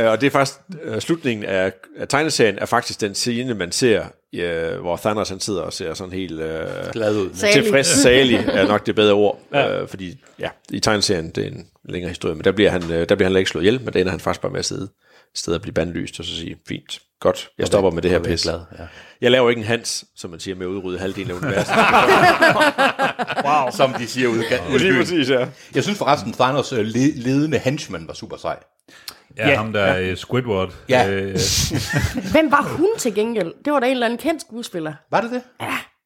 Speaker 6: Øh, og det er faktisk øh, slutningen af, af tegneserien, er faktisk den scene, man ser, øh, hvor Thanos han sidder og ser sådan helt øh,
Speaker 1: Glad ud.
Speaker 3: Salig.
Speaker 6: tilfreds, salig er nok det bedre ord. Ja. Øh, fordi ja, i tegneserien, det er en længere historie, men der bliver han, øh, der bliver han heller ikke slået ihjel, men der ender han faktisk bare med at sidde et sted og blive bandlyst, og så sige, fint, godt, jeg stopper med det her pis. Glad, ja. Jeg laver ikke en hans, som man siger, med at udrydde halvdelen af universet.
Speaker 1: Wow. Som de siger ude, ude i byen.
Speaker 6: ja.
Speaker 1: Jeg synes forresten, Thanos øh, le- ledende henchman var super sej.
Speaker 4: Ja, ja, ham der ja. Squidward.
Speaker 1: Ja.
Speaker 4: Øh,
Speaker 3: Hvem var hun til gengæld? Det var da en eller anden kendt skuespiller.
Speaker 1: Var det det?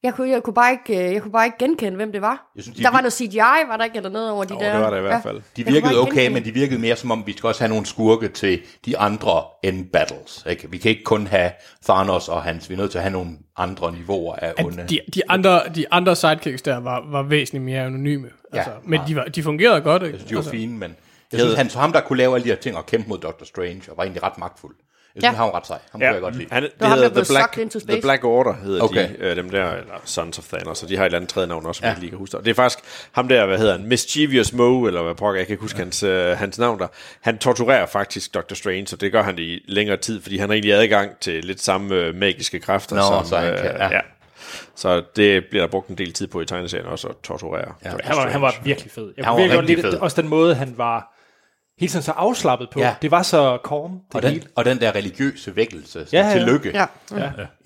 Speaker 3: Jeg kunne, jeg kunne, bare, ikke, øh, jeg kunne bare ikke genkende, hvem det var.
Speaker 1: Jeg synes, de-
Speaker 3: der var noget CGI, var der ikke, eller noget over de
Speaker 6: Jo,
Speaker 3: der...
Speaker 6: det var der i hvert fald.
Speaker 1: De
Speaker 3: Jeg kunne bare
Speaker 1: virkede
Speaker 3: ikke
Speaker 1: okay,
Speaker 3: genkende
Speaker 1: men de virkede mere som om, vi skal også have nogle skurke til de andre end battles. Ikke? Vi kan ikke kun have Thanos og hans. Vi er nødt til at have nogle andre niveauer af onde.
Speaker 5: De, de, andre, de andre sidekicks der var, var væsentligt mere anonyme.
Speaker 1: Ja. Altså,
Speaker 5: Altså, men de, var, de fungerede godt, ikke?
Speaker 1: De var fine, men jeg synes, han, så ham, der kunne lave alle de her ting og kæmpe mod Doctor Strange, og var egentlig ret magtfuld. Jeg synes,
Speaker 3: Ja.
Speaker 1: ja. han var ret sej. Ham ja. kunne jeg godt lide.
Speaker 6: Han, det
Speaker 3: ham, der
Speaker 6: hedder
Speaker 3: blev
Speaker 6: The Black,
Speaker 3: sucked into
Speaker 6: The
Speaker 3: space.
Speaker 6: Black Order, hedder okay.
Speaker 1: Okay.
Speaker 6: de, øh, dem der, eller Sons of Thanos, og de har et eller andet tredje navn også, som ja. jeg ikke lige kan huske. Og det er faktisk ham der, hvad hedder han, Mischievous Moe, eller hvad pokker, jeg kan ikke huske ja. hans, øh, hans navn der. Han torturerer faktisk Dr. Strange, og det gør han i længere tid, fordi han har egentlig adgang til lidt samme øh, magiske kræfter.
Speaker 1: Nå,
Speaker 6: som, øh,
Speaker 1: så han kan- ja.
Speaker 6: Så det bliver der brugt en del tid på i tegneserien også, at torturere. Ja.
Speaker 2: Han var, han var virkelig fed. Jeg
Speaker 1: Han
Speaker 2: kunne
Speaker 1: var
Speaker 2: virkelig godt
Speaker 1: rigtig
Speaker 2: lide det.
Speaker 1: fed.
Speaker 2: også den måde, han var hele tiden så afslappet på.
Speaker 1: Ja.
Speaker 2: Det var så calm.
Speaker 1: Og
Speaker 2: Det
Speaker 1: den,
Speaker 2: hele.
Speaker 1: og den der religiøse vækkelse, ja,
Speaker 2: Ja,
Speaker 1: ja.
Speaker 2: ja.
Speaker 1: tillykke.
Speaker 3: Ja.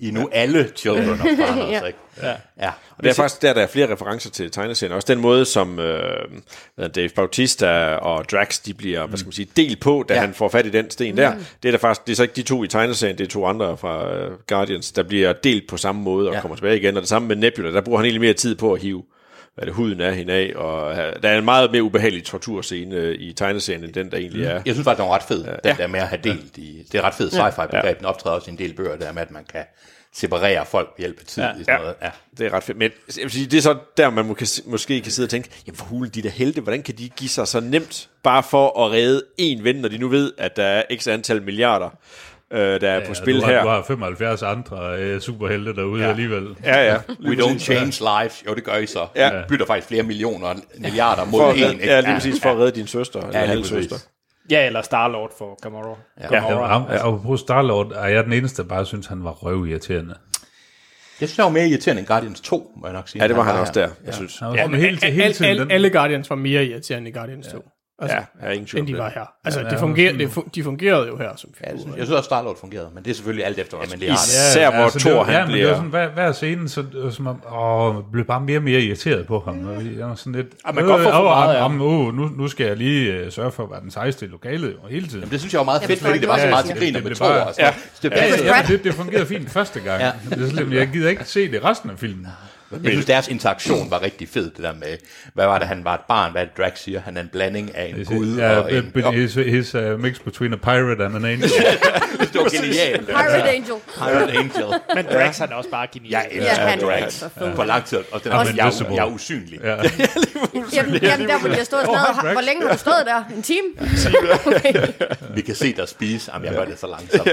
Speaker 1: I er nu alle children of Thanos,
Speaker 3: Ja.
Speaker 1: ikke? Ja. ja.
Speaker 6: Og det er faktisk der, der er flere referencer til tegneserien. Også den måde, som øh, hvad hedder Dave Bautista og Drax, de bliver, mm. hvad skal man sige, delt på, da ja. Mm. han får fat i den sten der. Det er der faktisk, det er så ikke de to i tegneserien, det er to andre fra øh, Guardians, der bliver delt på samme måde og ja. kommer tilbage igen. Og det samme med Nebula, der bruger han egentlig mere tid på at hive hvad det, huden af hende af, og øh, der er en meget mere ubehagelig torturscene øh, i tegneserien, end den, der egentlig er.
Speaker 1: Jeg synes faktisk, den var ret fed, den der med at have delt i... Det er ret fedt sci-fi-begreb. Den optræder også i en del bøger, der med, at man kan separere folk ved hjælp af tid. Ja. Sådan noget. Ja.
Speaker 6: Det er ret fedt. Men jeg vil sige, det er så der, man må, måske kan sidde og tænke, jamen for hulen, de der helte, hvordan kan de give sig så nemt, bare for at redde én ven, når de nu ved, at der er x antal milliarder, øh, der er ja, på spil
Speaker 4: du, har,
Speaker 6: her.
Speaker 4: du har 75 andre øh, superhelte derude ja. alligevel.
Speaker 6: Ja, ja.
Speaker 1: We don't change lives. Jo, det gør I så.
Speaker 6: Ja.
Speaker 1: Ja. Vi bytter faktisk flere millioner og milliarder
Speaker 6: For
Speaker 1: mod
Speaker 6: at
Speaker 1: en.
Speaker 6: redde,
Speaker 1: Ikke?
Speaker 6: ja, lige præcis for at redde din søster. Ja, eller
Speaker 1: lige
Speaker 6: halvsøster.
Speaker 1: præcis.
Speaker 2: Ja, eller Star-Lord for Gamora.
Speaker 4: Ja, ham, ja. Og på Star-Lord er jeg den eneste, der bare synes, han var røvirriterende.
Speaker 1: Jeg synes, han var mere irriterende end Guardians 2, må jeg nok sige.
Speaker 6: Ja, det var han også der, jeg synes.
Speaker 4: Han var ja, hele, hele
Speaker 5: Al,
Speaker 4: tiden
Speaker 5: al,
Speaker 4: den.
Speaker 5: alle Guardians var mere irriterende i Guardians 2, altså,
Speaker 6: Ja, jeg er ingen
Speaker 5: end
Speaker 6: tvivl om
Speaker 5: de
Speaker 6: det.
Speaker 5: var her. Altså, ja, det fungerede, det fun, de fungerede jo her som
Speaker 1: Jeg synes,
Speaker 5: figurer.
Speaker 1: jeg synes også, Star-Lord fungerede, men det er selvfølgelig alt efter, hvad man lige har det.
Speaker 6: Især hvor
Speaker 4: det
Speaker 6: Thor
Speaker 4: var, ja,
Speaker 6: han
Speaker 4: men det var
Speaker 6: bliver...
Speaker 4: sådan, hver, hver scene, så det var som om, åh, jeg blev bare mere og mere irriteret på ham. Og jeg var sådan lidt,
Speaker 2: man kan godt få for meget, ja.
Speaker 4: ham, åh, nu, nu skal jeg lige øh, sørge for at være den sejeste i lokalet og hele tiden.
Speaker 1: Det synes jeg var meget fedt,
Speaker 3: forstår
Speaker 1: fordi
Speaker 3: ikke,
Speaker 1: det var så
Speaker 3: hvad
Speaker 1: meget
Speaker 4: jeg
Speaker 1: til
Speaker 4: siger.
Speaker 1: griner med
Speaker 4: Det
Speaker 1: to
Speaker 4: blev bare-
Speaker 1: år. Ja. Det
Speaker 4: Ja,
Speaker 1: passede.
Speaker 4: ja, men det, det fungerede fint første gang. Ja. Det er sådan, lidt, jeg gider ikke se det resten af filmen.
Speaker 1: Jeg synes, deres interaktion var rigtig fed, det der med, hvad var det, han var et barn, hvad er det, Drax siger, han er en blanding af en gud
Speaker 4: Ja,
Speaker 1: og en...
Speaker 4: but
Speaker 1: Jo,
Speaker 4: his, his uh, mix between a pirate and an angel.
Speaker 1: det var genialt.
Speaker 3: Pirate Angel.
Speaker 1: Pirate Angel.
Speaker 2: Men Drax, han er også bare genial.
Speaker 1: Jeg
Speaker 3: Ja,
Speaker 1: elsker
Speaker 3: han er
Speaker 1: Drax
Speaker 3: så fed.
Speaker 1: for lang tid, og den er,
Speaker 4: I'm
Speaker 1: sådan, jeg, er-
Speaker 4: invisible.
Speaker 1: jeg er usynlig. Ja.
Speaker 3: Jamen, jamen der hvor de har stået
Speaker 4: Åh,
Speaker 3: stadig.
Speaker 4: hej, Drax.
Speaker 3: Hvor længe har du stået der? En time?
Speaker 1: Vi kan se dig spise. Jamen, jeg gør det så langsomt.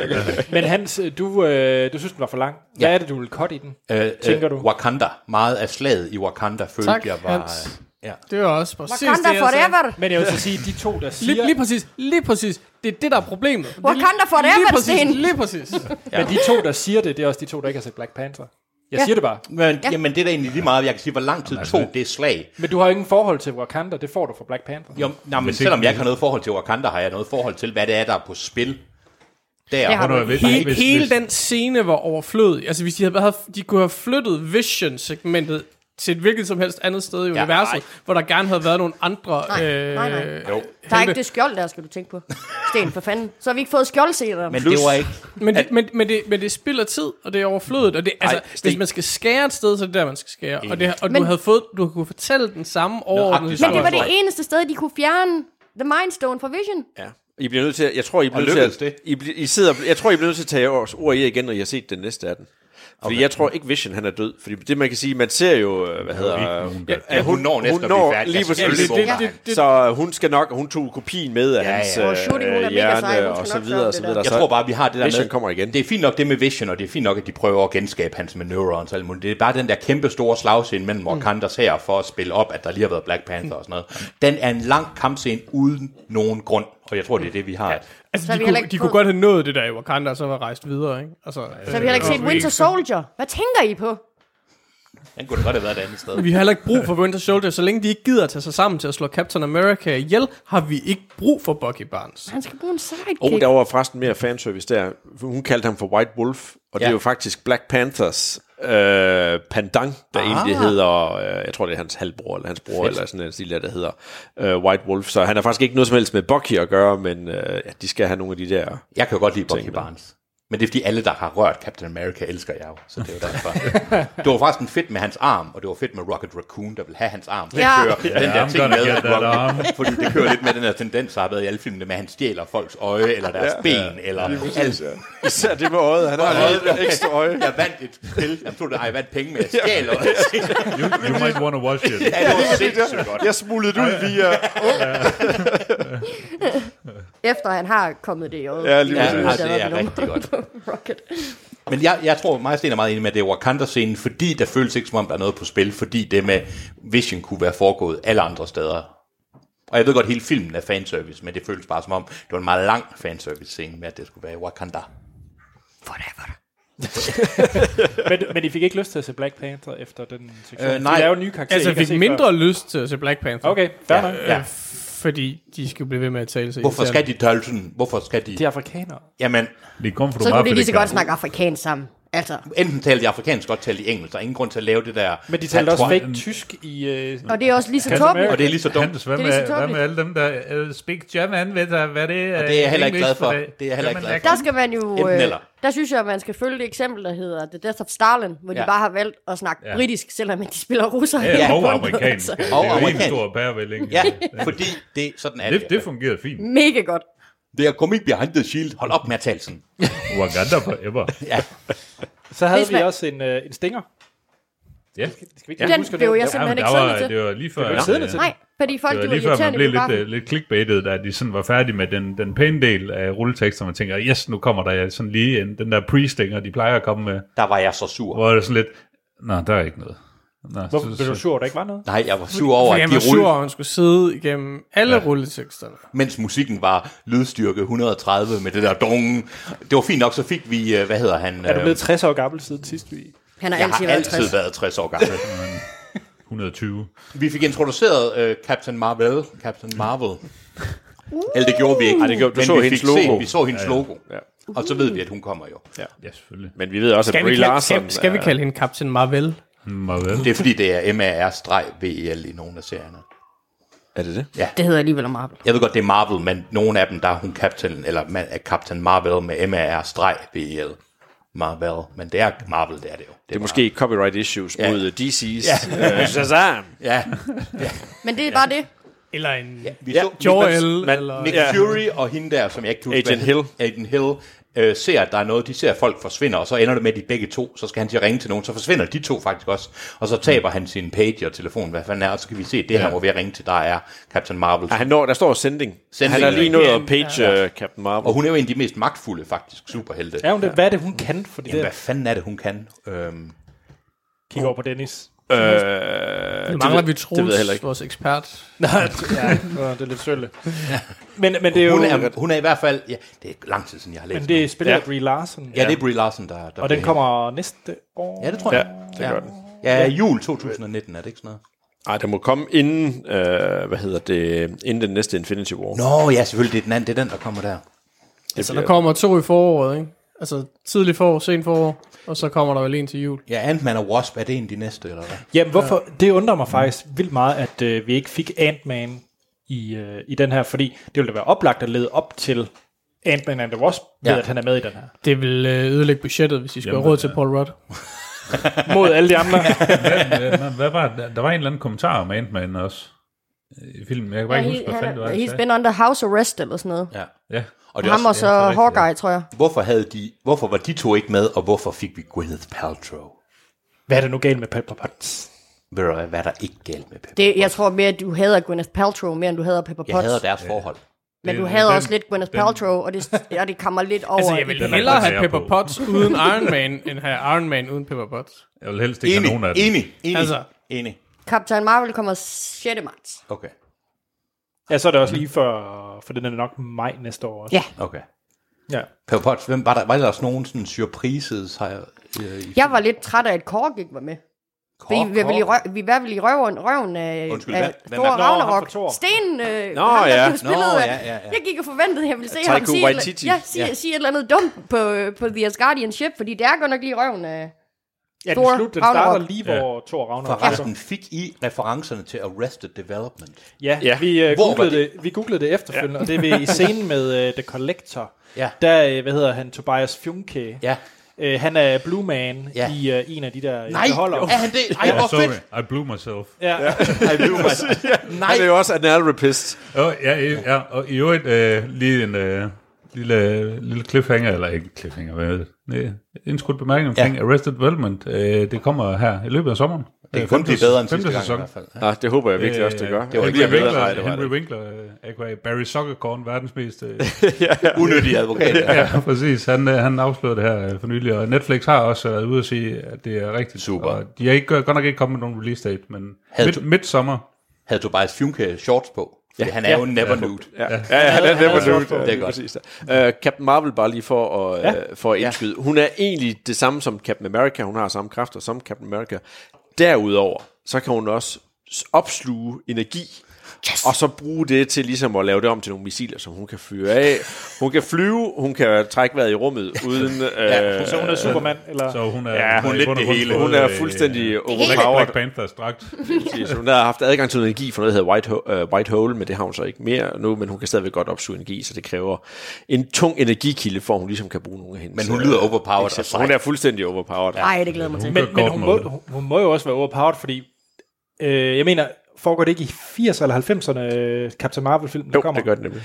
Speaker 2: Men Hans, du, øh, du synes, den var for lang. Hvad er det, du vil cut i den?
Speaker 1: Øh,
Speaker 2: Tænker du?
Speaker 1: Wakanda. Meget af slaget i Wakanda følte
Speaker 5: Tak,
Speaker 1: jeg var...
Speaker 5: Hans.
Speaker 1: Ja.
Speaker 5: Det var også præcis
Speaker 3: Wakanda
Speaker 5: det, jeg sagde.
Speaker 3: forever.
Speaker 2: Men jeg vil så sige, de to, der siger...
Speaker 5: Lige, lige præcis, lige præcis. Det er det, der er problemet. Det er
Speaker 3: Wakanda
Speaker 5: lige-
Speaker 3: for det er,
Speaker 5: Lige
Speaker 3: Mads
Speaker 5: præcis,
Speaker 3: Sten.
Speaker 5: lige præcis.
Speaker 2: Men de to, der siger det, det er også de to, der ikke har set Black Panther. Jeg
Speaker 3: Ja.
Speaker 2: ja. siger det bare.
Speaker 1: Men, ja. Jamen, det er da egentlig lige meget. Jeg kan sige, hvor lang tid tog det slag.
Speaker 2: Men du har jo ingen forhold til Wakanda, det får du fra Black Panther.
Speaker 1: Jo, nej, men
Speaker 4: Hvis ikke-
Speaker 1: selvom jeg ikke har noget forhold til Wakanda, har jeg noget forhold til, hvad det er, der er på spil. Der.
Speaker 3: Det har du
Speaker 4: Hvornår- hvis-
Speaker 5: Hele,
Speaker 4: hvis-
Speaker 5: hele
Speaker 4: hvis-
Speaker 5: den scene var overflødig. Altså, hvis de, havde, havde, de kunne have flyttet Vision-segmentet til et hvilket som helst andet sted i ja, universet,
Speaker 1: nej.
Speaker 5: hvor der gerne havde været nogle andre...
Speaker 3: Nej,
Speaker 5: øh,
Speaker 3: nej, nej.
Speaker 1: Jo.
Speaker 3: Der er ikke det skjold der, skal du tænke på. Sten, for fanden. Så har vi ikke fået skjoldscener.
Speaker 1: Men det var ikke...
Speaker 5: Men, det, men, men, det, men det spilder tid, og det er overflødigt. Og det, altså,
Speaker 1: Ej, Stig.
Speaker 5: hvis man skal skære et sted, så er det der, man skal skære. Og, det, og du,
Speaker 3: Men-
Speaker 5: havde fået, du kunne fortælle den samme overordnede
Speaker 1: Nøjagtigt samme.
Speaker 3: Men det var
Speaker 5: historie.
Speaker 3: det eneste sted, de kunne fjerne The Mindstone fra Vision.
Speaker 6: Ja. I bliver nødt til at, jeg tror, I bliver
Speaker 1: Og
Speaker 6: nødt til at,
Speaker 1: lykkedes det?
Speaker 6: I, bli- I sidder, jeg tror, I bliver nødt til at tage jeres ord i igen, når I har set den næste af den. Fordi okay. jeg tror ikke, Vision han er død. Fordi det, man kan sige, man ser jo, øh, hvad hedder...
Speaker 4: ikke nogen, der-
Speaker 6: ja,
Speaker 1: hun når næsten at blive færdig.
Speaker 6: Lige
Speaker 1: Jeg skal
Speaker 6: præcis.
Speaker 1: ikke
Speaker 6: Det,
Speaker 1: vågne
Speaker 6: det,
Speaker 1: ham.
Speaker 6: det, så øh, hun skal nok, og hun tog kopien med af
Speaker 1: ja.
Speaker 6: hans
Speaker 1: Åh,
Speaker 6: øh,
Speaker 3: Shuri, hun er mega sej. Hun
Speaker 6: hjerne,
Speaker 3: skal
Speaker 6: og så
Speaker 3: nok
Speaker 6: videre,
Speaker 3: klare
Speaker 6: og så
Speaker 3: det
Speaker 6: videre.
Speaker 3: der.
Speaker 1: Jeg
Speaker 6: Så-
Speaker 1: tror bare, vi har det der
Speaker 6: Vision
Speaker 1: med...
Speaker 6: kommer igen.
Speaker 1: Det er fint nok det med Vision, og det er fint nok, at de prøver at genskabe hans med neurons og alt muligt. Det er bare den der kæmpe store slagscene mellem Wakandas her for at spille op, at der lige har været Black Panther og sådan noget. Den er en lang kampscene uden nogen grund Og jeg tror, det er det, vi har. Ja.
Speaker 5: Altså,
Speaker 3: Så har
Speaker 5: de,
Speaker 3: vi
Speaker 5: kunne,
Speaker 3: heller ikke
Speaker 5: de kunne
Speaker 3: fået-
Speaker 5: godt have nået det der i Wakanda, og så var rejst videre, ikke? Altså,
Speaker 3: Så har vi heller ikke set Winter Soldier. Hvad tænker I på?
Speaker 1: Den kunne da godt have været et andet sted.
Speaker 5: øh, Vi har heller ikke brug for Winter Soldier. Så længe de ikke gider at tage sig sammen til at slå Captain America ihjel, har vi ikke brug for Bucky Barnes.
Speaker 3: Han skal bruge en sidekick.
Speaker 6: Oh, der var forresten mere fanservice der. Hun kaldte ham for White Wolf, og ja. det
Speaker 1: Ja.
Speaker 6: er jo faktisk Black Panthers øh, pandang, der ah. egentlig hedder, øh, jeg tror det er hans halvbror, eller hans bror, eller sådan en stil der, der hedder øh, White Wolf. Så han har faktisk ikke noget som helst med Bucky at gøre, men øh, ja, de skal have nogle af de der...
Speaker 1: Jeg kan jo godt lide Bucky Barnes. Men det er fordi alle, der har rørt Captain America, elsker jeg jo. Så det er jo derfor. det var faktisk en fedt med hans arm, og det var fedt med Rocket Raccoon, der vil have hans arm. Den,
Speaker 3: Ja.
Speaker 1: kører, den
Speaker 4: Ja,
Speaker 1: der
Speaker 4: I'm
Speaker 1: ting
Speaker 4: gonna
Speaker 1: med,
Speaker 4: get
Speaker 1: at
Speaker 4: that arm.
Speaker 1: Rocket, fordi det kører lidt med den her tendens, der har været i alle filmene, med at han stjæler folks øje, eller deres ja, ben, ja, eller alt.
Speaker 6: Især det med øjet, han har et ekstra øje.
Speaker 1: Jeg vandt et spil. Jeg troede, at jeg vandt penge, men jeg stjæler også. Ja,
Speaker 4: You, you might want to watch it.
Speaker 1: det var sindssygt godt.
Speaker 6: Jeg smuglede det ud via...
Speaker 3: Efter han har kommet det i øjet. altså,
Speaker 6: Ja, lige
Speaker 1: Ja,
Speaker 6: præcis.
Speaker 1: ja, det er rigtig godt. Men jeg, jeg tror, mig og Sten er meget enig med, at det er Wakanda-scenen, fordi der føles ikke, som om der er noget på spil, fordi det med Vision kunne være foregået alle andre steder. Og jeg ved godt, at hele filmen er fanservice, men det føles bare som om, det var en meget lang fanservice-scene med, at det skulle være i Wakanda.
Speaker 2: Men, men I fik ikke lyst til at se Black Panther efter den sektion?
Speaker 1: Øh, nej.
Speaker 2: De laver nye karakterer.
Speaker 5: Altså,
Speaker 2: I
Speaker 5: jeg
Speaker 2: ikke har
Speaker 5: fik
Speaker 2: set
Speaker 5: mindre lyst til at se Black Panther.
Speaker 2: Før. Okay, fair ja.
Speaker 5: Ja. Fordi de skal blive ved med at tale sig
Speaker 1: Hvorfor skal de tølsen? Hvorfor skal de...
Speaker 2: De er afrikanere.
Speaker 1: Jamen,
Speaker 4: Det kom fra
Speaker 3: Så kunne de lige så
Speaker 4: Afrika.
Speaker 3: godt snakke afrikansk sammen. Altså.
Speaker 1: enten talte de afrikansk, eller talte de engelsk. Der er ingen grund til at lave det der...
Speaker 2: Men de talte også
Speaker 1: patois.
Speaker 2: fake tysk i... Øh,
Speaker 3: Og det er også lige så
Speaker 2: Captain
Speaker 3: tåbeligt.
Speaker 1: Og det er lige så dumt.
Speaker 4: Hans, hvad,
Speaker 3: Det er
Speaker 4: med,
Speaker 3: lige så
Speaker 4: hvad
Speaker 3: tåbeligt.
Speaker 4: med alle dem, der uh, speak German, ved der, hvad det er?
Speaker 1: Og det er jeg
Speaker 4: øh,
Speaker 1: heller ikke
Speaker 4: English
Speaker 1: glad for.
Speaker 4: dag?
Speaker 1: Det er jeg heller ikke
Speaker 4: Jamen,
Speaker 1: glad
Speaker 4: jeg
Speaker 1: for.
Speaker 3: Der skal man jo...
Speaker 1: Enten
Speaker 3: Øh,
Speaker 1: eller.
Speaker 3: der synes jeg, at man skal følge det eksempel, der hedder The Death of Stalin, hvor ja.
Speaker 1: Ja.
Speaker 3: de bare har valgt at snakke ja. britisk, selvom de spiller russer.
Speaker 4: Ja,
Speaker 1: Ja,
Speaker 4: og amerikansk. Det
Speaker 1: Og
Speaker 4: er jo en
Speaker 1: amerikansk.
Speaker 4: stor pærevælling.
Speaker 1: Ja, fordi det, sådan er det.
Speaker 4: Det, det fungerede fint.
Speaker 3: Mega godt.
Speaker 1: Det er komik behind the shield. Hold op med at tale sådan.
Speaker 4: Wakanda forever.
Speaker 2: så havde
Speaker 3: Hvis
Speaker 2: vi
Speaker 3: man-
Speaker 2: også en, øh, en stinger.
Speaker 4: Ja.
Speaker 2: Skal vi ikke
Speaker 4: Ja.
Speaker 2: lige
Speaker 3: Den
Speaker 2: huske
Speaker 3: blev
Speaker 2: det?
Speaker 3: jeg
Speaker 4: Ja,
Speaker 3: simpelthen
Speaker 4: men
Speaker 3: ikke
Speaker 4: der
Speaker 3: siddende
Speaker 4: var,
Speaker 3: til.
Speaker 4: det var lige før,
Speaker 2: ikke siddende
Speaker 4: øh,
Speaker 2: til.
Speaker 3: Nej, fordi folk
Speaker 4: det
Speaker 3: de
Speaker 4: var
Speaker 3: var
Speaker 4: lige før, man
Speaker 3: irriterende i
Speaker 4: blev lidt,
Speaker 3: biografen.
Speaker 4: øh, lidt clickbaitet, da de sådan var færdige med den, den pæne del af rulleteksten, og man tænker, yes, nu kommer der sådan lige en, den der pre-stinger, de plejer at komme med,
Speaker 1: Der var jeg så sur.
Speaker 4: hvor er det sådan lidt, nej, der er ikke noget. Nå,
Speaker 2: Hvorfor blev du sur, at der ikke var noget?
Speaker 1: Nej, jeg var sur over,
Speaker 5: Fordi
Speaker 1: at
Speaker 5: han
Speaker 1: de
Speaker 5: var sur,
Speaker 1: rullede,
Speaker 5: og han skulle sidde igennem alle ja. rulleteksterne.
Speaker 1: mens musikken var lydstyrke 130 med det der dong. Det var fint nok, så fik vi, øh, hvad hedder han?
Speaker 2: Er du
Speaker 1: øh,
Speaker 2: blevet 60 år gammel siden sidst vi...
Speaker 3: Han har altid
Speaker 1: jeg har
Speaker 3: været
Speaker 1: altid
Speaker 3: 60.
Speaker 1: været 60 år gammel.
Speaker 4: 120.
Speaker 1: vi fik introduceret øh, Captain Marvel. Captain Marvel. Eller det gjorde vi ikke. Nej,
Speaker 6: det gjorde- du
Speaker 1: men
Speaker 6: så
Speaker 1: vi
Speaker 6: hendes
Speaker 1: fik
Speaker 6: logo.
Speaker 1: Set, vi så hendes ja, ja. logo.
Speaker 6: Ja.
Speaker 1: Og så ved vi, at hun kommer jo. Ja.
Speaker 4: Ja, selvfølgelig.
Speaker 6: Men vi ved også, at
Speaker 5: Skal vi,
Speaker 6: Brie
Speaker 5: kalde,
Speaker 6: Larson...
Speaker 5: skal, skal vi
Speaker 6: er-
Speaker 5: kalde hende Captain Marvel?
Speaker 4: Må vel.
Speaker 1: Det er fordi, det er MAR-VL i nogle af serierne.
Speaker 6: Er det det?
Speaker 3: Det hedder alligevel Marvel.
Speaker 1: Jeg ved godt, det er Marvel, men nogle af dem, der er hun Captain, eller man er Captain Marvel med MAR-VL. Marvel. Men det er Marvel, det er det jo.
Speaker 6: Det er måske copyright issues ja. mod øh, DC's ja. øh, Shazam.
Speaker 1: Ja,
Speaker 3: Men det er bare det.
Speaker 5: Eller en ja.
Speaker 1: vi ja, så,
Speaker 5: Joel?
Speaker 6: man-
Speaker 5: eller...
Speaker 1: Nick
Speaker 6: Ja.
Speaker 1: ja. Fury og hende der, som jeg ikke kan huske,
Speaker 6: Agent
Speaker 1: hvad- Agent Hill øh, ser, at der er noget, de ser, at folk forsvinder, og så ender det med, at de begge to, så skal han til at ringe til nogen, så forsvinder de to faktisk også, og så taber han sin page og telefon, hvad fanden er, og så kan vi se, at det her, hvor vi at ringe til, der er Captain Marvel.
Speaker 6: Ja, han når, der står sending.
Speaker 1: Sending,
Speaker 6: han har lige
Speaker 1: ja.
Speaker 6: nået at page ja. uh, Captain Marvel.
Speaker 1: Og hun er jo en af de mest magtfulde, faktisk, superhelte.
Speaker 2: Er hun det? Hvad er det, hun kan? Fordi
Speaker 1: Jamen, hvad
Speaker 2: det
Speaker 1: fanden er det, hun kan? Øhm,
Speaker 2: kigger over på Dennis.
Speaker 6: Øh,
Speaker 5: Nu mangler vi
Speaker 6: Det ved jeg heller
Speaker 5: Troels,
Speaker 6: ikke.
Speaker 5: vores ekspert.
Speaker 2: Nå, ja, nå, det er lidt sølle. Men, men det er jo...
Speaker 1: hun, er, hun er i hvert fald, ja, det er lang tid siden, jeg har læst
Speaker 2: Men det er
Speaker 1: hende.
Speaker 2: spillet af
Speaker 6: Ja.
Speaker 2: Brie Larson.
Speaker 1: Ja, det er Brie Larson, der, der
Speaker 2: Og den
Speaker 1: bliver-
Speaker 2: kommer næste år.
Speaker 1: Ja, det tror
Speaker 6: Ja,
Speaker 1: jeg.
Speaker 6: det gør den.
Speaker 1: Ja, jul 2019, er det ikke sådan noget?
Speaker 6: Ej, den må komme inden, øh, hvad hedder det, inden den næste Infinity War. No.
Speaker 1: Nå, ja, selvfølgelig, det er den anden, det er den, der kommer der.
Speaker 5: Så der kommer to i foråret, ikke? Altså tidlig forår, sent forår, og så kommer der vel en til jul.
Speaker 1: Ja, Ant-Man og Wasp, er det en af de næste, eller hvad?
Speaker 2: Jamen, hvorfor? Det undrer mig faktisk vildt meget, at øh, vi ikke fik Ant-Man i, øh, i den her, fordi det ville da være oplagt at lede op til Ant-Man and the Wasp, ved
Speaker 1: Ja.
Speaker 2: at han er med i den her.
Speaker 5: Det vil øh, ødelægge budgettet, hvis I skal have råd til Paul Rudd.
Speaker 2: Mod alle de andre.
Speaker 4: Hvad, hvad var, der, der var en eller anden kommentar om Ant-Man også øh, i filmen. Jeg kan bare
Speaker 3: Ja,
Speaker 4: ikke huske,
Speaker 3: he,
Speaker 4: hvad
Speaker 3: han,
Speaker 4: fanden det var,
Speaker 3: er-
Speaker 4: han
Speaker 3: he's
Speaker 4: sagde.
Speaker 3: been under house arrest eller sådan noget.
Speaker 1: Ja.
Speaker 4: Ja.
Speaker 1: Og
Speaker 3: Ham og så
Speaker 4: det er rigtigt,
Speaker 3: Hawkeye, tror jeg.
Speaker 1: hvorfor, havde de, hvorfor var de to ikke med, og hvorfor fik vi Gwyneth Paltrow?
Speaker 2: Hvad er der nu galt med Pepper Potts?
Speaker 1: Ved du hvad, hvad er der ikke galt med Pepper?
Speaker 3: Det, jeg tror mere, at du hader Gwyneth Paltrow mere, end du hader Pepper
Speaker 1: jeg
Speaker 3: Potts.
Speaker 1: hader deres forhold.
Speaker 3: Men
Speaker 4: Det-
Speaker 3: du hader
Speaker 4: den-
Speaker 3: også lidt Gwyneth Paltrow, og det, og det kommer lidt over.
Speaker 5: Altså, jeg
Speaker 3: i-
Speaker 5: vil
Speaker 4: Den er
Speaker 5: hellere
Speaker 4: faktisk
Speaker 5: have
Speaker 4: jeg
Speaker 5: Pepper
Speaker 4: på.
Speaker 5: Potts uden Iron Man, end have Iron Man uden Pepper Potts.
Speaker 4: Jeg vil helst ikke have nogen af dem.
Speaker 1: enig, enig,
Speaker 5: Altså.
Speaker 1: enig.
Speaker 3: Captain Marvel kommer 6. marts.
Speaker 1: Okay.
Speaker 2: Ja, så er det også lige for, for den er nok maj næste år også.
Speaker 7: Ja.
Speaker 1: Okay.
Speaker 2: ja.
Speaker 1: Pepper Potts, hvem var der, var der også nogen sådan surprises her? Øh, i-
Speaker 3: Jeg var lidt træt af, at Korg ikke var med.
Speaker 1: Korg,
Speaker 3: vi, vi, var vel i
Speaker 1: Korg.
Speaker 3: røv, vi var vel i røven, røven af,
Speaker 1: Undskyld,
Speaker 3: af
Speaker 1: hvad- hvem er-
Speaker 3: Thor
Speaker 2: Nå, ham
Speaker 3: Ragnarok.
Speaker 2: fra Thor.
Speaker 3: Stenen, øh,
Speaker 6: Nå,
Speaker 3: ham, der
Speaker 6: ja.
Speaker 3: blev spillet
Speaker 1: Nå,
Speaker 3: af.
Speaker 1: ja, ja, ja.
Speaker 3: Jeg gik og forventede, at jeg ville se
Speaker 6: Taika
Speaker 3: ham sige, et
Speaker 6: Waititi.
Speaker 3: eller- ja, sige,
Speaker 1: Ja.
Speaker 3: ja. sige et eller andet dumt på, øh, på The Asgardian Ship, fordi det er godt nok lige røven øh. af...
Speaker 2: ja den,
Speaker 3: Thor
Speaker 2: slut, den
Speaker 3: Ragnarok.
Speaker 2: starter lige, hvor ja. Thor Ragnarok er.
Speaker 3: Altså-
Speaker 1: Forresten, fik I referencerne til Arrested Development?
Speaker 2: Ja, ja.
Speaker 6: Ja.
Speaker 2: Vi, uh,
Speaker 1: Hvor var
Speaker 2: googlede
Speaker 1: det?
Speaker 2: det? vi googlede det efterfølgende, ja. og det er ved i scenen med uh, The Collector.
Speaker 1: Ja.
Speaker 2: Der, uh, hvad hedder han, Tobias Fjunke.
Speaker 1: Ja.
Speaker 2: Uh, han er Blue Man
Speaker 1: Ja.
Speaker 2: ja. i uh, en af de der øh,
Speaker 1: Nej,
Speaker 2: der holder.
Speaker 1: er han det? Ej,
Speaker 4: Ja,
Speaker 1: hvor
Speaker 4: sorry,
Speaker 1: fedt!
Speaker 4: I blew myself.
Speaker 2: Ja. Ja.
Speaker 1: Nej,
Speaker 6: Han er jo også anal rapist.
Speaker 4: Og, ja, i- ja, og i øvrigt øh, lige en øh, lille, lille cliffhanger, eller ikke cliffhanger, hvad hedder det? Nej, indskudt bemærkning omkring ja. Arrested Development. Øh, det kommer her i løbet af sommeren.
Speaker 1: det kan kun blive bedre end sidste gang i
Speaker 4: sæson.
Speaker 1: hvert fald.
Speaker 6: Nå, det håber jeg virkelig også, Øh, det gør.
Speaker 4: det var
Speaker 6: Jeg bliver
Speaker 4: Henry
Speaker 6: bedre. Nej,
Speaker 4: Winkler,
Speaker 6: det var det
Speaker 4: Henry
Speaker 6: ikke.
Speaker 4: Winkler, øh, aka Barry Soccercorn, verdens mest... Øh,
Speaker 1: Unødig advokat. ja.
Speaker 4: ja, præcis. Han, øh, han afslørede det her øh, for nylig, og Netflix har også været ude og sige, at det er rigtigt.
Speaker 1: Super.
Speaker 4: Og de har ikke, godt nok ikke kommet med nogen release date, men
Speaker 1: Havde
Speaker 4: midt,
Speaker 1: du-
Speaker 4: midsommer.
Speaker 1: Havde Tobias Fjunke shorts på? Ja. Han er jo never nude.
Speaker 6: Ja, ja, han er never
Speaker 1: havde
Speaker 6: nude.
Speaker 1: også
Speaker 6: Ja,
Speaker 1: det er
Speaker 6: lige
Speaker 1: godt.
Speaker 6: præcis der. Øh, Captain Marvel, bare lige for at, ja. for at indskyde. Hun er egentlig det samme som Captain America. Hun har samme kræfter som Captain America. Derudover, så kan hun også s- opsluge energi. Yes. Og så bruge det til ligesom at lave det om til nogle missiler, som hun kan fyre af. Hun kan flyve, hun kan trække vejret i rummet uden... Øh,
Speaker 2: Så hun er Superman, eller...
Speaker 4: Så hun er,
Speaker 6: Ja, hun er
Speaker 4: i
Speaker 6: lidt
Speaker 4: bund og
Speaker 1: det
Speaker 4: grund
Speaker 1: hele.
Speaker 4: fået,
Speaker 6: hun er
Speaker 4: øh,
Speaker 6: fuldstændig
Speaker 4: Black,
Speaker 6: overpowered.
Speaker 4: Black Panthers dragt.
Speaker 6: Præcis. Hun har haft adgang til noget energi fra noget, der hedder White, Ho- uh, White Hole, men det har hun så ikke mere nu, men hun kan stadigvæk godt opsuge energi, så det kræver en tung energikilde, for at hun ligesom kan bruge nogle af hendes.
Speaker 1: Men hun lyder
Speaker 6: øh,
Speaker 1: overpowered og
Speaker 6: eksempler.
Speaker 1: sej.
Speaker 6: Hun er fuldstændig overpowered. Ja.
Speaker 3: Nej, det glæder mig til.
Speaker 2: Men,
Speaker 4: Hun gør
Speaker 2: men
Speaker 4: godt
Speaker 2: hun,
Speaker 4: mod
Speaker 2: må,
Speaker 4: det.
Speaker 2: hun- hun må jo også være overpowered, fordi... Øh, jeg mener, foregår det ikke i 80'erne eller 90'erne, øh, Captain Marvel-filmen, der
Speaker 6: Jo,
Speaker 2: kommer?
Speaker 6: det gør det nemlig.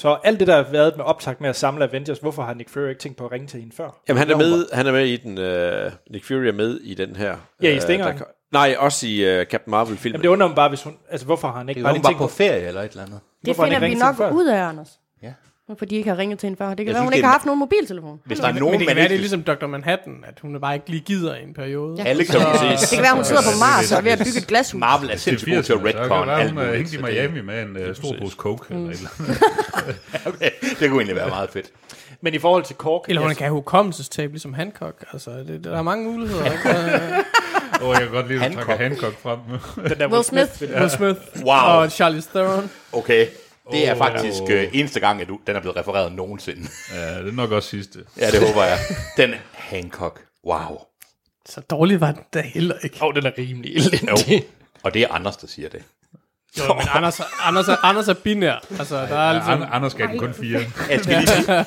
Speaker 2: Så alt det, der har været med optakt med at samle Avengers, hvorfor har Nick Fury ikke tænkt på at ringe til hende før?
Speaker 6: Jamen, han er med, han er med i den, uh, Nick Fury er med i den her.
Speaker 2: Ja, i
Speaker 6: øh,
Speaker 2: Stingeren.
Speaker 6: der- Nej, også i uh, Captain Marvel-filmen.
Speaker 2: Jamen, det undrer mig bare, hvis hun... Altså, hvorfor har han ikke
Speaker 1: Det
Speaker 2: bare
Speaker 1: var,
Speaker 2: lige
Speaker 1: hun var
Speaker 2: tænkt
Speaker 1: på
Speaker 2: på...
Speaker 1: ferie eller et eller andet.
Speaker 3: Det
Speaker 2: Hvorfor har
Speaker 3: finder
Speaker 2: han
Speaker 3: vi
Speaker 2: ikke
Speaker 3: nok
Speaker 2: ringet til
Speaker 3: ud af, Anders.
Speaker 1: Ja.
Speaker 3: Hvorfor de ikke har ringet til hende før. Det kan
Speaker 1: Jeg
Speaker 3: være,
Speaker 1: synes,
Speaker 3: hun
Speaker 1: det er
Speaker 3: ikke har
Speaker 1: en-
Speaker 3: haft nogen mobiltelefon.
Speaker 1: Hvis der er
Speaker 5: Men
Speaker 1: nogen,
Speaker 5: det
Speaker 1: man
Speaker 5: kan være, det
Speaker 1: ikke...
Speaker 5: er ligesom Dr. Manhattan, at hun bare ikke lige gider i en periode.
Speaker 3: Ja.
Speaker 1: Alle kan jo ses.
Speaker 3: Det kan være, hun sidder på
Speaker 4: Øh,
Speaker 3: Mars
Speaker 4: det-
Speaker 3: og er ved at bygge et glashus.
Speaker 1: Marvel er
Speaker 4: Det er
Speaker 1: sindssygt god til
Speaker 4: 80'erne, så kan
Speaker 1: retcon.
Speaker 4: det være,
Speaker 1: alt
Speaker 4: hun er
Speaker 1: muligt,
Speaker 4: hængt i
Speaker 1: så det-
Speaker 4: Miami med en øh, stor pose coke eller et eller andet.
Speaker 1: Okay, det kunne egentlig være meget fedt.
Speaker 2: Men i forhold til Kork...
Speaker 5: Eller hun
Speaker 2: altså,
Speaker 5: kan have hukommelsestab, ligesom Hancock. Altså, det, der er mange muligheder. ikke?
Speaker 4: Åh, oh, jeg kan godt lide, at du trækker
Speaker 1: Hancock.
Speaker 4: Hancock frem.
Speaker 2: den der
Speaker 3: Will Smith.
Speaker 2: film.
Speaker 5: Will Smith
Speaker 1: Wow.
Speaker 5: og Charlize Theron.
Speaker 1: Okay, det er
Speaker 4: Åh.
Speaker 1: faktisk øh, eneste gang, at du, den er blevet refereret nogensinde.
Speaker 4: ja, det er nok også sidste.
Speaker 1: ja, det håber jeg. Den Hancock. Wow.
Speaker 5: Så dårlig var den da heller ikke.
Speaker 2: Åh, oh, den er rimelig
Speaker 1: No.
Speaker 2: elendig.
Speaker 1: Og det er Anders, der siger det.
Speaker 5: Jo, men Anders, Anders, er, Anders er binær. Altså, der er
Speaker 4: Ja,
Speaker 5: ligesom
Speaker 4: An- Anders gav den kun fire.
Speaker 1: Jeg skal lige sige.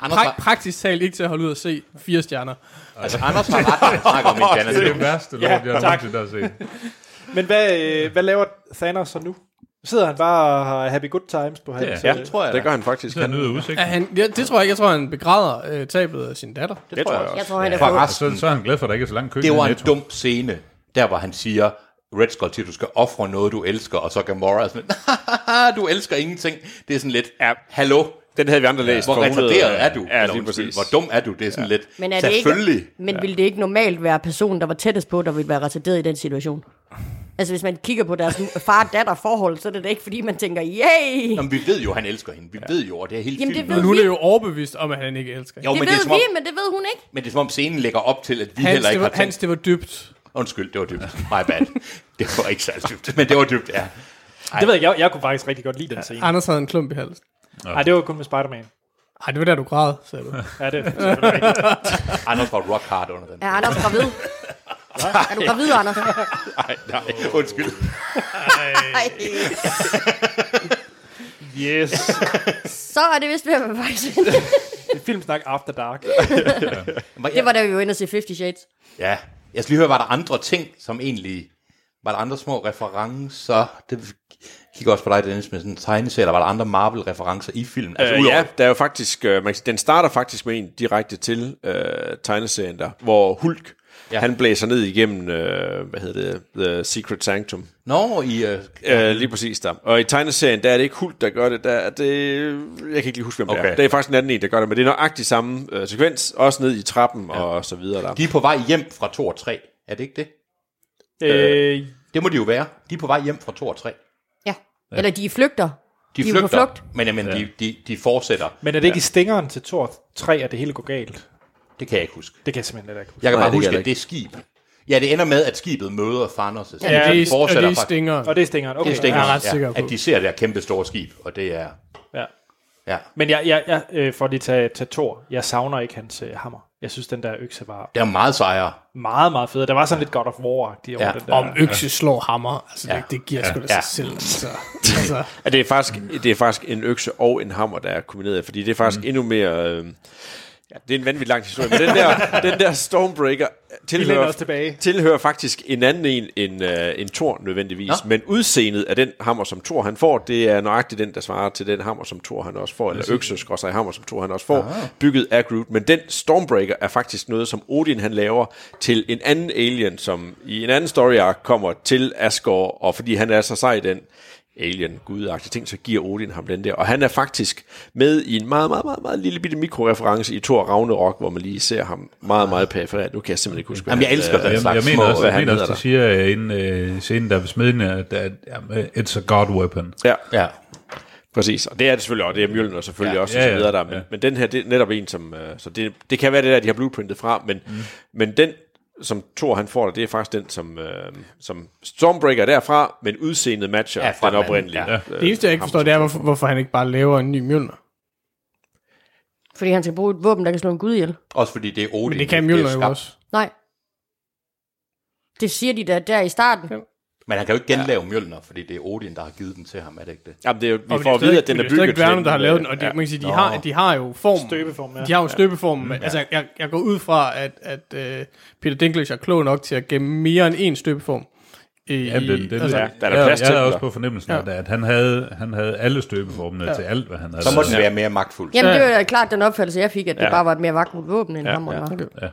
Speaker 1: Anders
Speaker 5: pra-
Speaker 1: har,
Speaker 5: praktisk talt ikke til at holde ud og se fire stjerner.
Speaker 1: altså, Anders har ret, når han snakker om Indiana
Speaker 4: Det er det
Speaker 1: Jones.
Speaker 4: værste lort, jeg
Speaker 2: tak.
Speaker 4: nogensinde har set.
Speaker 2: Men hvad, øh, hvad laver Thanos så nu? Sidder han bare og har happy good times på hans...
Speaker 1: Ja,
Speaker 2: øh,
Speaker 1: det tror jeg
Speaker 6: det
Speaker 1: da.
Speaker 6: gør han faktisk.
Speaker 4: Så han
Speaker 6: Han,
Speaker 4: nyder
Speaker 5: Er
Speaker 4: udsigten.
Speaker 5: han, ja, det tror jeg ikke. Jeg tror, han begræder øh, tabet af sin datter.
Speaker 1: Det tror jeg også.
Speaker 3: Jeg tror, han er
Speaker 1: For
Speaker 3: på.
Speaker 4: Så,
Speaker 1: resten,
Speaker 4: så er han glad for, at der ikke er så lang kø.
Speaker 1: det
Speaker 4: nede i
Speaker 1: var en
Speaker 4: Netto.
Speaker 1: dum scene, der hvor han siger, Red Skull til, du skal ofre noget, du elsker, og så Gamora er sådan, "Haha, du elsker ingenting. Det er sådan lidt,
Speaker 6: Ja.
Speaker 1: hallo,
Speaker 6: den havde vi andre læst.
Speaker 1: hvor
Speaker 6: for 100,
Speaker 1: retarderet er du?
Speaker 6: Ja,
Speaker 1: Eller
Speaker 6: lige
Speaker 1: undskyld,
Speaker 6: præcis.
Speaker 1: Hvor dum er du? Det er sådan lidt,
Speaker 3: Men, er det
Speaker 1: selvfølgelig.
Speaker 3: ikke, men ville det ikke normalt være personen, der var tættest på, der ville være retarderet i den situation? Altså, hvis man kigger på deres far-datter-forhold, så er det da ikke, fordi man tænker, yay!
Speaker 1: Nå, men vi ved jo, han elsker hende. Vi ved jo, og det er helt
Speaker 3: Jamen, det
Speaker 1: filmen.
Speaker 5: Men hun er jo overbevist om, at han ikke elsker
Speaker 1: Jo,
Speaker 5: hende.
Speaker 3: Det
Speaker 1: men det, er,
Speaker 3: ved
Speaker 1: som om,
Speaker 3: vi, men det ved hun ikke.
Speaker 1: men det er som om scenen lægger op til, at vi
Speaker 5: Hans,
Speaker 1: heller
Speaker 5: det
Speaker 1: ikke har
Speaker 5: var,
Speaker 1: tænkt...
Speaker 5: Hans, det var dybt.
Speaker 1: Undskyld, det var dybt. My bad. Det var ikke særlig dybt, men det var dybt, ja.
Speaker 2: Det ved jeg, ikke, jeg, jeg kunne faktisk rigtig godt lide den scene.
Speaker 5: Anders havde en klump i halsen.
Speaker 2: Nej, det var kun med Spider-Man.
Speaker 5: Ej, det var der, du græd, sagde du.
Speaker 2: Ja, det, så er det rigtigt.
Speaker 1: Anders var rock hard under den.
Speaker 3: Er Anders gravid? er du gravid, Anders?
Speaker 1: Nej, nej, undskyld.
Speaker 3: Nej.
Speaker 2: Yes.
Speaker 3: Så er det vist ved at være faktisk.
Speaker 2: Filmsnak After Dark.
Speaker 3: Det var da vi var inde og se 50 Shades.
Speaker 1: Ja, jeg skal lige høre, var der andre ting, som egentlig... Var der andre små referencer? Det kigger også på dig, Dennis, med sådan en tegneserie, eller var der andre Marvel-referencer i filmen? Altså,
Speaker 6: Øh,
Speaker 1: udover,
Speaker 6: ja, der er jo faktisk, øh, man kan sige, den starter faktisk med en direkte til øh, tegneserien der, hvor Hulk,
Speaker 1: Ja.
Speaker 6: ja. han blæser ned igennem, øh, hvad hedder det, The Secret Sanctum.
Speaker 1: Nå, i... Øh,
Speaker 6: Øh, lige præcis der. Og i tegneserien, der er det ikke Hulk, der gør det. Der er det jeg kan ikke lige huske, hvem okay. det
Speaker 1: Okay.
Speaker 6: er. Det er faktisk en anden en, der gør det, men det er nøjagtig samme øh, sekvens, også ned i trappen ja. og så videre der.
Speaker 1: de er på vej hjem fra 2 og 3. Er det ikke det?
Speaker 2: øh,
Speaker 1: Det må de jo være. De er på vej hjem fra 2 og 3.
Speaker 3: Ja. Eller de flygter.
Speaker 1: De,
Speaker 3: er
Speaker 1: de
Speaker 3: jo
Speaker 1: flygter,
Speaker 3: på flugt.
Speaker 1: men jamen, de, de, de fortsætter.
Speaker 2: Men er det ikke i stingeren til Thor 3, at det hele går galt?
Speaker 1: Det kan jeg ikke huske.
Speaker 2: Det kan jeg simpelthen heller ikke huske.
Speaker 1: Jeg kan
Speaker 6: Nej,
Speaker 1: bare
Speaker 6: det kan
Speaker 1: huske,
Speaker 6: jeg
Speaker 1: at det er skib. Ja, det ender med, at skibet møder Thanos. Ja,
Speaker 5: Ja,
Speaker 1: de
Speaker 5: det er, og
Speaker 1: fortsætter
Speaker 5: det
Speaker 1: faktisk.
Speaker 5: stinger.
Speaker 2: Og det er stingeren. Okay.
Speaker 1: Det er stinger,
Speaker 5: Jeg er ret sikker
Speaker 1: ja,
Speaker 5: på.
Speaker 1: at de ser det her kæmpe store skib, og det er...
Speaker 2: Ja.
Speaker 1: Ja,
Speaker 2: Men jeg, jeg, jeg øh, for lige tage, tage Thor, jeg savner ikke hans øh, hammer. Jeg synes, den der økse var
Speaker 1: det er meget sejere.
Speaker 2: meget, meget fed. Der var sådan lidt God of War-agtig over
Speaker 1: Ja.
Speaker 2: den der.
Speaker 5: Om økse slår hammer, altså
Speaker 1: Ja.
Speaker 5: det, det giver sgu da
Speaker 1: Ja.
Speaker 5: sig selv. Altså, altså,
Speaker 6: Ja, det, er faktisk, det er faktisk en økse og en hammer, der er kombineret, fordi det er faktisk mm. endnu mere... Øh, ja, det er en vanvittig lang historie, men den der, den der Stormbreaker
Speaker 2: læner
Speaker 6: tilhører,
Speaker 2: os tilbage.
Speaker 6: tilhører faktisk en anden en end, øh, end Thor nødvendigvis,
Speaker 1: Nå.
Speaker 6: men udseendet af den hammer, som Thor han får, det er nøjagtigt den, der svarer til den hammer, som Thor han også får, eller økse sig hammer, som Thor han også får,
Speaker 1: Ah.
Speaker 6: Aha. bygget af Groot, men den Stormbreaker er faktisk noget, som Odin han laver til en anden alien, som i en anden story arc kommer til Asgård, og fordi han er så sej i den, alien gudagtige ting, så giver Odin ham den der. Og han er faktisk med i en meget, meget, meget, meget lille bitte mikroreference i Thor Ragnarok, hvor man lige ser ham meget, meget perifært. Nu kan jeg simpelthen ikke huske, hvad
Speaker 1: Jamen, jeg
Speaker 6: han-
Speaker 1: elsker
Speaker 6: øh,
Speaker 1: den
Speaker 4: Jeg, jeg
Speaker 1: slags
Speaker 4: mener
Speaker 1: små...
Speaker 4: også,
Speaker 6: hvad
Speaker 4: jeg
Speaker 6: han
Speaker 4: mener også,
Speaker 6: hedder
Speaker 4: de siger øh, inden øh, scenen, der er ved smeden, at, at, at it's a god weapon.
Speaker 6: Ja,
Speaker 1: Ja,
Speaker 6: præcis. Og det er det selvfølgelig, og det er Mjølner selvfølgelig
Speaker 1: Ja.
Speaker 6: ja. også,
Speaker 4: Ja,
Speaker 6: ja,
Speaker 4: ja,
Speaker 6: ja, videre der. Men,
Speaker 4: ja.
Speaker 6: ja. men den her, det er netop en, som... Øh, så det, det kan være det der, de har blueprintet fra, men, mm. men den, som Thor han får der, det er faktisk den, som, øh, som Stormbreaker er derfra, men udseendet matcher
Speaker 1: Ja,
Speaker 6: ja,
Speaker 1: fra
Speaker 6: den
Speaker 1: den anden.
Speaker 6: oprindelige.
Speaker 1: Ja.
Speaker 6: øh,
Speaker 5: det eneste, jeg ikke
Speaker 6: ham,
Speaker 5: forstår,
Speaker 6: som
Speaker 5: det er,
Speaker 6: Thor
Speaker 5: hvorfor, hvorfor han ikke bare laver en ny Mjølner.
Speaker 3: Fordi han skal bruge et våben, der kan slå en gud ihjel.
Speaker 1: også fordi det er Odin.
Speaker 5: Men det kan
Speaker 1: er
Speaker 5: Mjølner jo
Speaker 1: skabt.
Speaker 5: også.
Speaker 3: Nej. Det siger de da der i starten.
Speaker 1: Men han kan jo ikke genlave ja. Mjølner, fordi det er Odin, der har givet den til ham, er det ikke det?
Speaker 6: Jamen, det er, jo- vi
Speaker 5: Og
Speaker 6: får at vide, at den er
Speaker 5: Det er
Speaker 6: bygget
Speaker 5: stadig Dværgene, der har
Speaker 6: en,
Speaker 5: lavet
Speaker 6: øh,
Speaker 5: den, og de,
Speaker 6: ja.
Speaker 5: man kan sige, de,
Speaker 1: Nå.
Speaker 5: har, de har jo formen.
Speaker 2: Støbeform, ja. Mm.
Speaker 5: De har jo støbeformen. men Altså, jeg, jeg går ud fra, at, at uh, Peter Dinklage er klog nok til at gemme mere end én støbeform. I,
Speaker 4: Jamen, den, den,
Speaker 5: altså,
Speaker 4: altså,
Speaker 5: ja.
Speaker 6: der er der plads
Speaker 4: jeg,
Speaker 6: til
Speaker 4: jeg er
Speaker 6: den,
Speaker 4: også
Speaker 6: der.
Speaker 4: på fornemmelsen af,
Speaker 5: Ja.
Speaker 4: det, at han havde, han havde alle støbeformene ja. til alt, hvad han havde.
Speaker 1: Så må
Speaker 4: lavet.
Speaker 1: den være mere magtfuld.
Speaker 3: Jamen, det var da klart den opfattelse, jeg fik, at det ja. bare var et mere vagt våben, end ja, hammeren
Speaker 6: ja.
Speaker 3: var. Okay.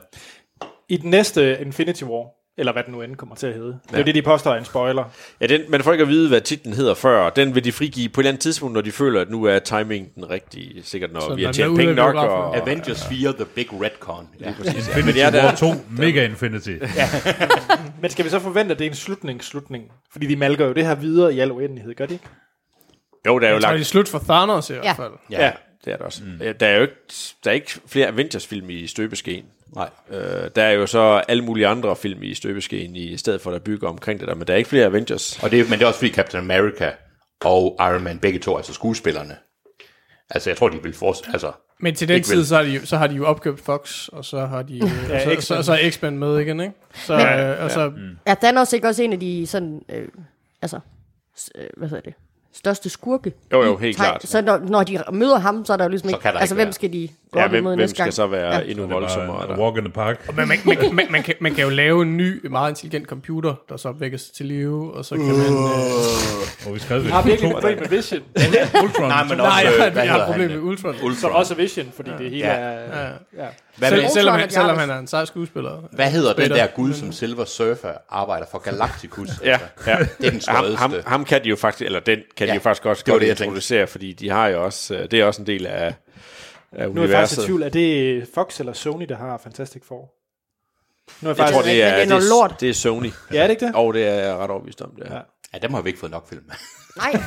Speaker 2: I den næste øh, Infinity War, eller hvad den nu end kommer til at hedde. Ja. Det er jo det, de påstår er en spoiler.
Speaker 6: Ja, den, man får ikke at vide, hvad titlen hedder før. og Den vil de frigive på et eller andet tidspunkt, når de føler, at nu er timingen den rigtige. Sikkert, når
Speaker 5: Så
Speaker 6: vi har
Speaker 5: man er
Speaker 6: tjent
Speaker 5: ude
Speaker 6: penge
Speaker 5: af
Speaker 6: nok.
Speaker 5: biografen.
Speaker 6: Og,
Speaker 1: Avengers 4, The Big Redcon. Ja.
Speaker 4: Infinity
Speaker 6: Ja, men jeg er
Speaker 4: War
Speaker 6: der-
Speaker 4: 2, Mega Infinity.
Speaker 2: Men skal vi så forvente, at det er en slutning, slutning? Fordi de malker jo det her videre i al uendelighed, gør de ikke?
Speaker 6: jo, der er jo
Speaker 5: Jeg tror, det er
Speaker 6: langt.
Speaker 5: slut for Thanos i
Speaker 3: Ja.
Speaker 5: hvert fald.
Speaker 1: Ja. ja.
Speaker 6: Det er der også. Mm. Der er jo ikke, der er ikke flere Avengers-film i støbeskeen.
Speaker 1: Nej.
Speaker 6: Øh, der er jo så alle mulige andre film i støbeskeen, i stedet for at bygge omkring det der. Men der er ikke flere Avengers.
Speaker 1: Og det, men det er også fordi Captain America og Iron Man, begge to, altså skuespillerne. Altså, jeg tror, de vil fortsætte. Altså,
Speaker 5: Men til den
Speaker 1: Ikke
Speaker 5: tid,
Speaker 1: vel.
Speaker 5: så har, de, jo- så har de jo opkøbt Fox, og så har de ja, så,
Speaker 2: X-Men.
Speaker 5: så, så er X-Men med igen, ikke? Så, øh, og så,
Speaker 3: Er Thanos ikke også en af de sådan, øh, altså, s- øh, hvad hedder det, største skurke?
Speaker 6: Jo, jo, helt klart.
Speaker 3: Så når, når de møder ham, så er der jo ligesom
Speaker 1: Så
Speaker 3: ikke,
Speaker 1: kan der
Speaker 3: altså
Speaker 1: ikke
Speaker 3: hvem
Speaker 1: være.
Speaker 3: skal de gå
Speaker 6: Ja,
Speaker 3: op imod
Speaker 6: hvem, hvem
Speaker 3: næste
Speaker 6: skal
Speaker 3: gang?
Speaker 6: så være ja. endnu voldsommere?
Speaker 4: Voldsommere.
Speaker 6: Der?
Speaker 4: Walk in the park.
Speaker 5: Men man, man, man, man, kan, man kan jo lave en ny, meget intelligent computer, der så vækkes til live, og så kan man... Øh,
Speaker 4: Og vi skrev det.
Speaker 2: Har virkelig et problem med Vision,
Speaker 4: Ultron.
Speaker 1: Nej, men
Speaker 5: nej,
Speaker 1: også, øh,
Speaker 5: jeg,
Speaker 1: hvad
Speaker 5: jeg har
Speaker 1: hedder
Speaker 5: et problem med
Speaker 1: han?
Speaker 5: Ultron.
Speaker 2: som
Speaker 1: Ultron.
Speaker 2: også er Vision, fordi det hele
Speaker 1: Ja.
Speaker 2: er... Ja. Ja.
Speaker 1: Hvad,
Speaker 5: Selv,
Speaker 1: med,
Speaker 3: Ultron
Speaker 5: selvom,
Speaker 3: er
Speaker 5: han,
Speaker 3: de
Speaker 5: selvom
Speaker 3: andre.
Speaker 5: han er en sej skuespiller.
Speaker 1: hvad hedder den
Speaker 5: Spætter.
Speaker 1: der gud, som Silver Surfer arbejder for Galacticus?
Speaker 6: Ja,
Speaker 1: Altså,
Speaker 6: ja.
Speaker 1: det er den
Speaker 6: ham,
Speaker 1: skødeste.
Speaker 6: ham, ham kan de jo faktisk, eller den kan ja, de
Speaker 1: Ja,
Speaker 6: jo faktisk også
Speaker 1: det var
Speaker 6: godt
Speaker 1: det, jeg tænkte.
Speaker 6: introducere, fordi de har jo også, øh, det er også en del af, af
Speaker 2: Nu er jeg faktisk i
Speaker 6: universet.
Speaker 2: tvivl, er det Fox eller Sony, der har Fantastic Four? Nu er jeg
Speaker 6: Jeg
Speaker 2: faktisk...
Speaker 6: tror, det er,
Speaker 3: Men det er noget lort.
Speaker 6: det er Sony.
Speaker 2: Ja, er det ikke det?
Speaker 6: Og det er jeg ret overbevist om, det er.
Speaker 2: Ja.
Speaker 6: Ja.
Speaker 1: Ja, dem har vi ikke fået nok film.
Speaker 3: Nej,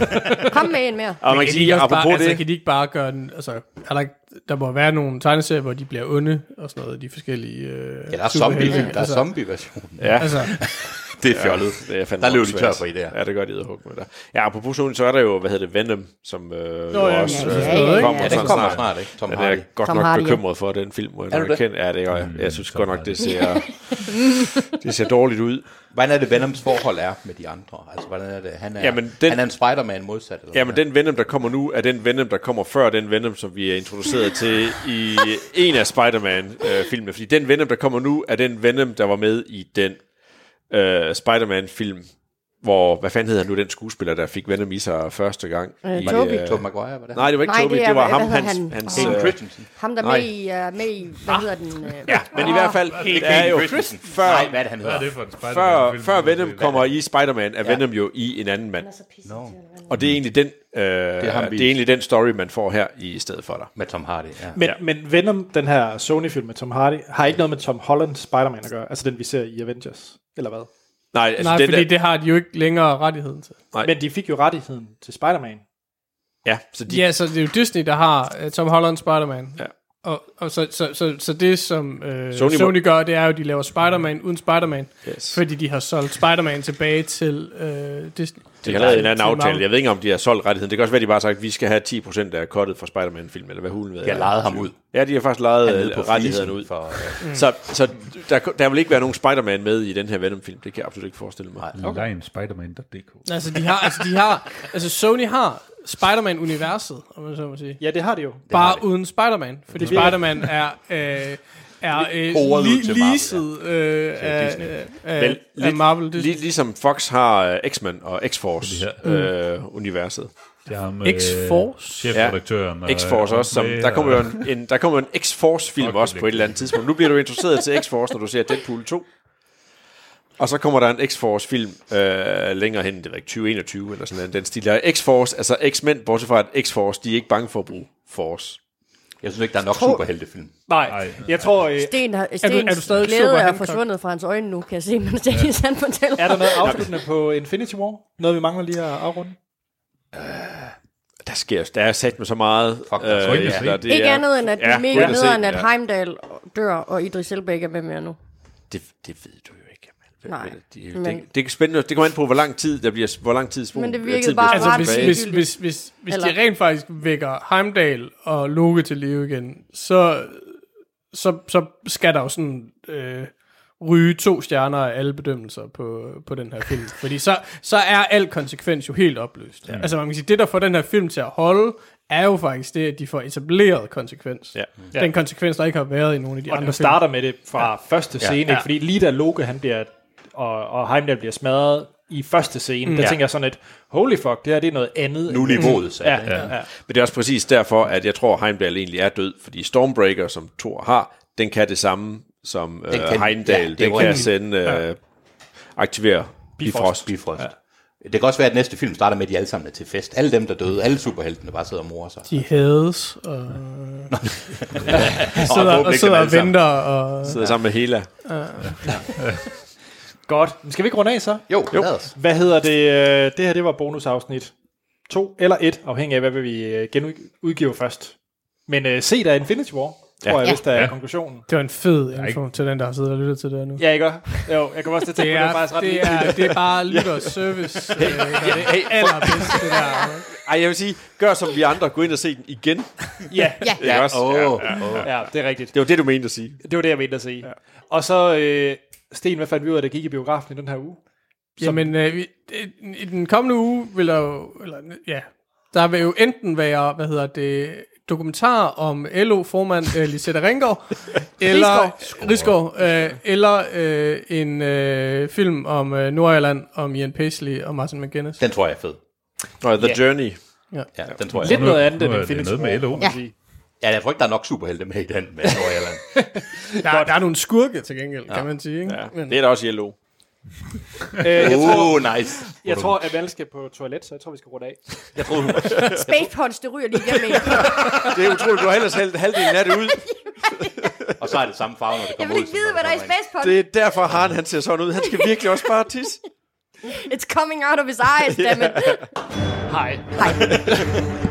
Speaker 3: kom med en mere.
Speaker 6: Og man kan
Speaker 5: Kan de
Speaker 6: sige,
Speaker 5: ikke også bare,
Speaker 6: apropos
Speaker 5: altså,
Speaker 6: det,
Speaker 5: kan de ikke bare gøre den... Altså, er der, ikke, der må være nogle tegneserier, hvor de bliver onde og sådan noget, de forskellige... Øh,
Speaker 1: Ja, der er zombie,
Speaker 5: superhelte.
Speaker 1: der er zombie-versionen.
Speaker 6: ja,
Speaker 5: Altså,
Speaker 1: Det er fjollet.
Speaker 6: det er fandme
Speaker 1: Der løb de
Speaker 6: åndssvagt.
Speaker 1: tør for idéer.
Speaker 6: Ja, det gør de edderhug med der. Ja, apropos Sony, så er der jo, hvad hedder det, Venom, som øh, Nå,
Speaker 5: ja,
Speaker 6: ja, også
Speaker 5: ja,
Speaker 6: øh,
Speaker 5: ja, ja, ja.
Speaker 6: kommer
Speaker 1: Ja, den
Speaker 6: sådan
Speaker 1: kommer
Speaker 6: snart.
Speaker 1: snart, ikke? Tom
Speaker 6: Ja, det er
Speaker 1: Hardy.
Speaker 6: jeg godt
Speaker 3: Tom
Speaker 6: nok
Speaker 3: Hardy, ja.
Speaker 6: bekymret for, den film, må jeg
Speaker 1: Er
Speaker 6: nok
Speaker 1: du det?
Speaker 6: erkende. Ja, det gør jeg.
Speaker 1: Mm,
Speaker 6: Jeg synes godt nok, det ser, det ser dårligt ud.
Speaker 1: Hvordan er det, Venoms forhold er med de andre? Altså, hvordan er det? Han er,
Speaker 6: Jamen, den-
Speaker 1: han er en Spider-Man modsat. Eller
Speaker 6: Jamen,
Speaker 1: hvad?
Speaker 6: den Venom, der kommer nu, er den Venom, der kommer før den Venom, som vi er introduceret til i en af Spider-Man-filmene. Fordi den Venom, der kommer nu, er den Venom, der var med i den øh, Spider-Man-film, hvor, hvad fanden hedder han nu, den skuespiller, der fik Venom i sig første gang?
Speaker 3: Øh,
Speaker 6: i,
Speaker 3: Tobey.
Speaker 1: Tobey Maguire, var det?
Speaker 6: nej, det var ikke
Speaker 3: Nej,
Speaker 6: Toby,
Speaker 3: det
Speaker 6: det,
Speaker 3: er-
Speaker 6: det var
Speaker 3: hvad
Speaker 6: ham,
Speaker 3: hedder
Speaker 6: hans...
Speaker 3: han?
Speaker 6: hans
Speaker 1: Hayden
Speaker 6: øh,
Speaker 1: Christensen.
Speaker 3: Ham der
Speaker 6: Nej. Ah.
Speaker 3: med i, uh, med i, hvad hedder den? Øh,
Speaker 6: ja, men i hvert fald, det er jo før,
Speaker 1: Nej, hvad er det, han hedder?
Speaker 4: Hvad er det for en spider
Speaker 6: før, før Venom kommer i Spider-Man, er Venom jo i en anden mand. Og det er egentlig den, øh, det,
Speaker 1: ham,
Speaker 6: er
Speaker 1: vi-
Speaker 6: det er egentlig den story, man får her i stedet for dig.
Speaker 1: Med Tom Hardy, ja.
Speaker 2: Men, men Venom, den her Sony-film med Tom Hardy, har ikke noget med Tom Hollands Spider-Man at gøre. Altså den, vi ser i Avengers. Eller hvad?
Speaker 6: Nej, altså
Speaker 5: Nej,
Speaker 6: den
Speaker 5: fordi
Speaker 6: der,
Speaker 5: det har de jo ikke længere rettigheden til.
Speaker 2: Men de fik jo rettigheden til Spider-Man.
Speaker 6: ja, så de,
Speaker 5: Ja, så det er jo Disney, der har uh, Tom Holland Spider-Man.
Speaker 6: Ja.
Speaker 5: Og, og så, så, så, så det, som øh,
Speaker 6: Sony
Speaker 5: Sony,
Speaker 6: må-
Speaker 5: Sony gør, det er jo, at de laver Spider-Man uden Spider-Man,
Speaker 6: Yes.
Speaker 5: fordi de har solgt Spider-Man tilbage til øh, Disney.
Speaker 6: de har lavet en anden
Speaker 5: Til
Speaker 6: aftale.
Speaker 5: Marvel.
Speaker 6: Jeg ved ikke, om de har solgt rettigheden. Det kan også være, de bare har sagt, at vi skal have 10% af kottet fra Spider-Man-film, eller hvad hulen ved.
Speaker 1: Jeg lejede ham ud.
Speaker 6: Ja, de har faktisk lejet
Speaker 1: nede på øh,
Speaker 6: øh, rettighederne
Speaker 1: flisen
Speaker 6: ud. For, mm. Så, så der, der vil ikke være nogen Spider-Man med i den her Venom-film. Det kan jeg absolut ikke forestille mig. Nej.
Speaker 4: Okay. Lionspiderman.dk.
Speaker 5: Altså, de har, altså, de har, altså Sony har Spider-Man-universet, om man så må sige.
Speaker 2: Ja, det har de jo.
Speaker 5: Bare uden Spider-Man, fordi Spider-Man er... Øh, er øh,
Speaker 1: Koret ud
Speaker 5: li-
Speaker 1: til Marvel,
Speaker 5: leaset øh, af,
Speaker 1: Disney.
Speaker 5: af,
Speaker 6: Vel,
Speaker 5: af
Speaker 6: lidt-
Speaker 5: Marvel. Disney.
Speaker 6: Lige, ligesom Fox har uh, X-Men og X-Force øh, universet.
Speaker 4: Det er ham, øh,
Speaker 5: X-Force?
Speaker 4: chefredaktøren. og-
Speaker 6: X-Force også, som,
Speaker 4: Øh, med,
Speaker 6: der kommer jo
Speaker 4: og-
Speaker 6: en, en, der kommer jo en X-Force-film
Speaker 4: Fuck,
Speaker 6: også
Speaker 4: det
Speaker 6: på et eller andet tidspunkt. Nu bliver du introduceret til X-Force, når du ser Deadpool 2. Og så kommer der en X-Force-film øh, længere hen, det ved jeg ikke, 2021 eller sådan noget, den stil. Der er X-Force, altså X-Men, bortset fra at X-Force, de er ikke bange for at bruge Force.
Speaker 1: Jeg synes ikke, der er nok superheltefilm.
Speaker 2: Nej, jeg tror... Øh,
Speaker 3: Sten har, Stens
Speaker 5: er du stadig super
Speaker 3: glæde er
Speaker 5: Hancock?
Speaker 3: forsvundet fra hans øjne nu, kan jeg se, mens Dennis han fortæller.
Speaker 2: er der noget afsluttende på Infinity War? Noget, vi mangler lige at afrunde?
Speaker 6: Der sker, der er sat med så meget. Fuck,
Speaker 4: der er så ikke at se.
Speaker 6: der, det
Speaker 3: Ikke
Speaker 6: er,
Speaker 3: andet end, at det
Speaker 6: Ja,
Speaker 3: er
Speaker 6: gå
Speaker 3: mega
Speaker 6: ind og se,
Speaker 3: nederen, at
Speaker 6: ja.
Speaker 3: Heimdall dør, og Idris Elba ikke er med mere nu.
Speaker 6: Det, det ved du jo ikke. Men,
Speaker 3: Nej,
Speaker 6: men det,
Speaker 3: men-
Speaker 6: det, det, er spændende. Det kommer an på, hvor lang tid der bliver, hvor lang tid spolen,
Speaker 3: Men det
Speaker 6: øh,
Speaker 3: virkede
Speaker 6: tid
Speaker 3: bare
Speaker 5: Altså,
Speaker 6: bliver spolet
Speaker 3: ret
Speaker 5: hvis,
Speaker 6: tilbage.
Speaker 5: hvis, hvis, hvis, hvis de
Speaker 3: Eller-
Speaker 5: rent faktisk vækker Heimdall og Loke til live igen, så, så, så skal der jo sådan øh, ryge to stjerner af alle bedømmelser på, på den her film. Fordi så, så er al konsekvens jo helt opløst. Ja. Altså, man kan sige, det der får den her film til at holde, er jo faktisk det, at de får etableret konsekvens.
Speaker 6: Ja.
Speaker 5: Den konsekvens, der ikke har været i nogen af de
Speaker 2: Og den
Speaker 5: andre film.
Speaker 2: starter med det fra ja. første scene, ja. fordi lige da Loke han bliver, og, og Heimdall bliver smadret i første scene, mm. der
Speaker 6: Ja.
Speaker 2: tænker jeg sådan lidt, holy fuck, det her det er noget andet.
Speaker 1: Nu er niveauet sat.
Speaker 2: Ja,
Speaker 1: Ja.
Speaker 2: ja. ja.
Speaker 6: Men det er også præcis derfor, at jeg tror, Heimdall egentlig er død, fordi Stormbreaker, som Thor har, den kan det samme som øh,
Speaker 1: kan-
Speaker 6: Heimdall.
Speaker 1: ja,
Speaker 6: Ja,
Speaker 1: det
Speaker 6: den
Speaker 1: var
Speaker 6: kan
Speaker 1: egentlig-
Speaker 6: sende, øh, aktivere Bifrost.
Speaker 1: Bifrost. Ja. Det kan også være, at næste film starter med, at de alle sammen er til fest. Alle dem, der døde, alle superheltene bare sidder og morer sig.
Speaker 5: De hades, og,
Speaker 6: Og
Speaker 5: sidder, og,
Speaker 6: forhåbentlig
Speaker 5: sidder
Speaker 6: kan
Speaker 5: og
Speaker 6: alle sammen
Speaker 5: venter, og
Speaker 6: Sidder sammen med Hela.
Speaker 2: Godt. Men Skal vi ikke runde af så?
Speaker 1: Jo, jo. lad os.
Speaker 2: Hvad hedder det? øh, Det her, det var bonusafsnit 2 eller 1, afhængig af, hvad vil vi øh, genudgive først. Men øh, se der Infinity War, tror jeg, hvis der er konklusionen.
Speaker 5: det var en fed info til den, der har siddet og lyttet til det her nu.
Speaker 2: Ja, ikke også? Jo, jeg kan også til at tænke,
Speaker 5: Det
Speaker 2: på, det er
Speaker 5: er,
Speaker 2: faktisk ret
Speaker 5: det, er, det er bare lytter service. Øh, der er det allerbedste, det der.
Speaker 6: Ej, jeg vil sige, gør som vi andre, gå ind og se den igen.
Speaker 2: Ja, ja.
Speaker 6: Ja, ja, også? ja.
Speaker 1: Åh, åh.
Speaker 2: ja, det er rigtigt.
Speaker 6: Det var det, du mente at sige.
Speaker 2: Det var det, jeg mente at sige. Ja. Og så, øh, Sten, hvad fandt vi ud af, der gik i biografen i den her uge?
Speaker 5: Jamen, øh, vi, øh, i den kommende uge vil der jo, eller, ja, der vil jo enten være, hvad hedder det, dokumentar om LO-formand øh, Lisette Ringgaard, eller Rigsgaard, øh, eller øh, en øh, film om øh, Nordjylland, om Ian Paisley og Martin McGuinness.
Speaker 1: Den tror jeg er fed.
Speaker 6: Nå, The Journey.
Speaker 1: Ja, den tror jeg.
Speaker 2: Lidt
Speaker 1: Lidt.
Speaker 4: nu-
Speaker 2: noget andet
Speaker 4: nu
Speaker 2: end
Speaker 4: er det
Speaker 2: Infinity
Speaker 4: noget med
Speaker 2: War,
Speaker 4: LO.
Speaker 2: må man sige.
Speaker 1: Ja, jeg tror ikke, der er nok superhelte med i den med Nordjylland.
Speaker 5: Der, der er nogle skurke til gengæld, ja. kan man sige. Ikke?
Speaker 6: Ja,
Speaker 5: Men,
Speaker 6: det er da også Yellow.
Speaker 2: Øh, jeg, tror,
Speaker 1: Åh, oh, nice.
Speaker 2: jeg tror, at Val skal på toilet, så jeg tror, vi skal runde af.
Speaker 1: Jeg troede, hun var-
Speaker 3: Space Punch, det ryger lige igennem en.
Speaker 6: Det er utroligt, du har ellers hældt halvdelen af det ud.
Speaker 1: Og så er det samme farve, når det
Speaker 3: Jeg
Speaker 1: kommer
Speaker 3: vil
Speaker 1: ud.
Speaker 3: ikke
Speaker 1: som
Speaker 3: vide,
Speaker 1: når
Speaker 3: hvad der er i
Speaker 1: kommer ind.
Speaker 3: Space Punch.
Speaker 6: Det er derfor, Haren han ser sådan ud. Han skal virkelig også bare tisse.
Speaker 3: It's coming out of his eyes, dammit.
Speaker 2: Hej.
Speaker 3: Hej.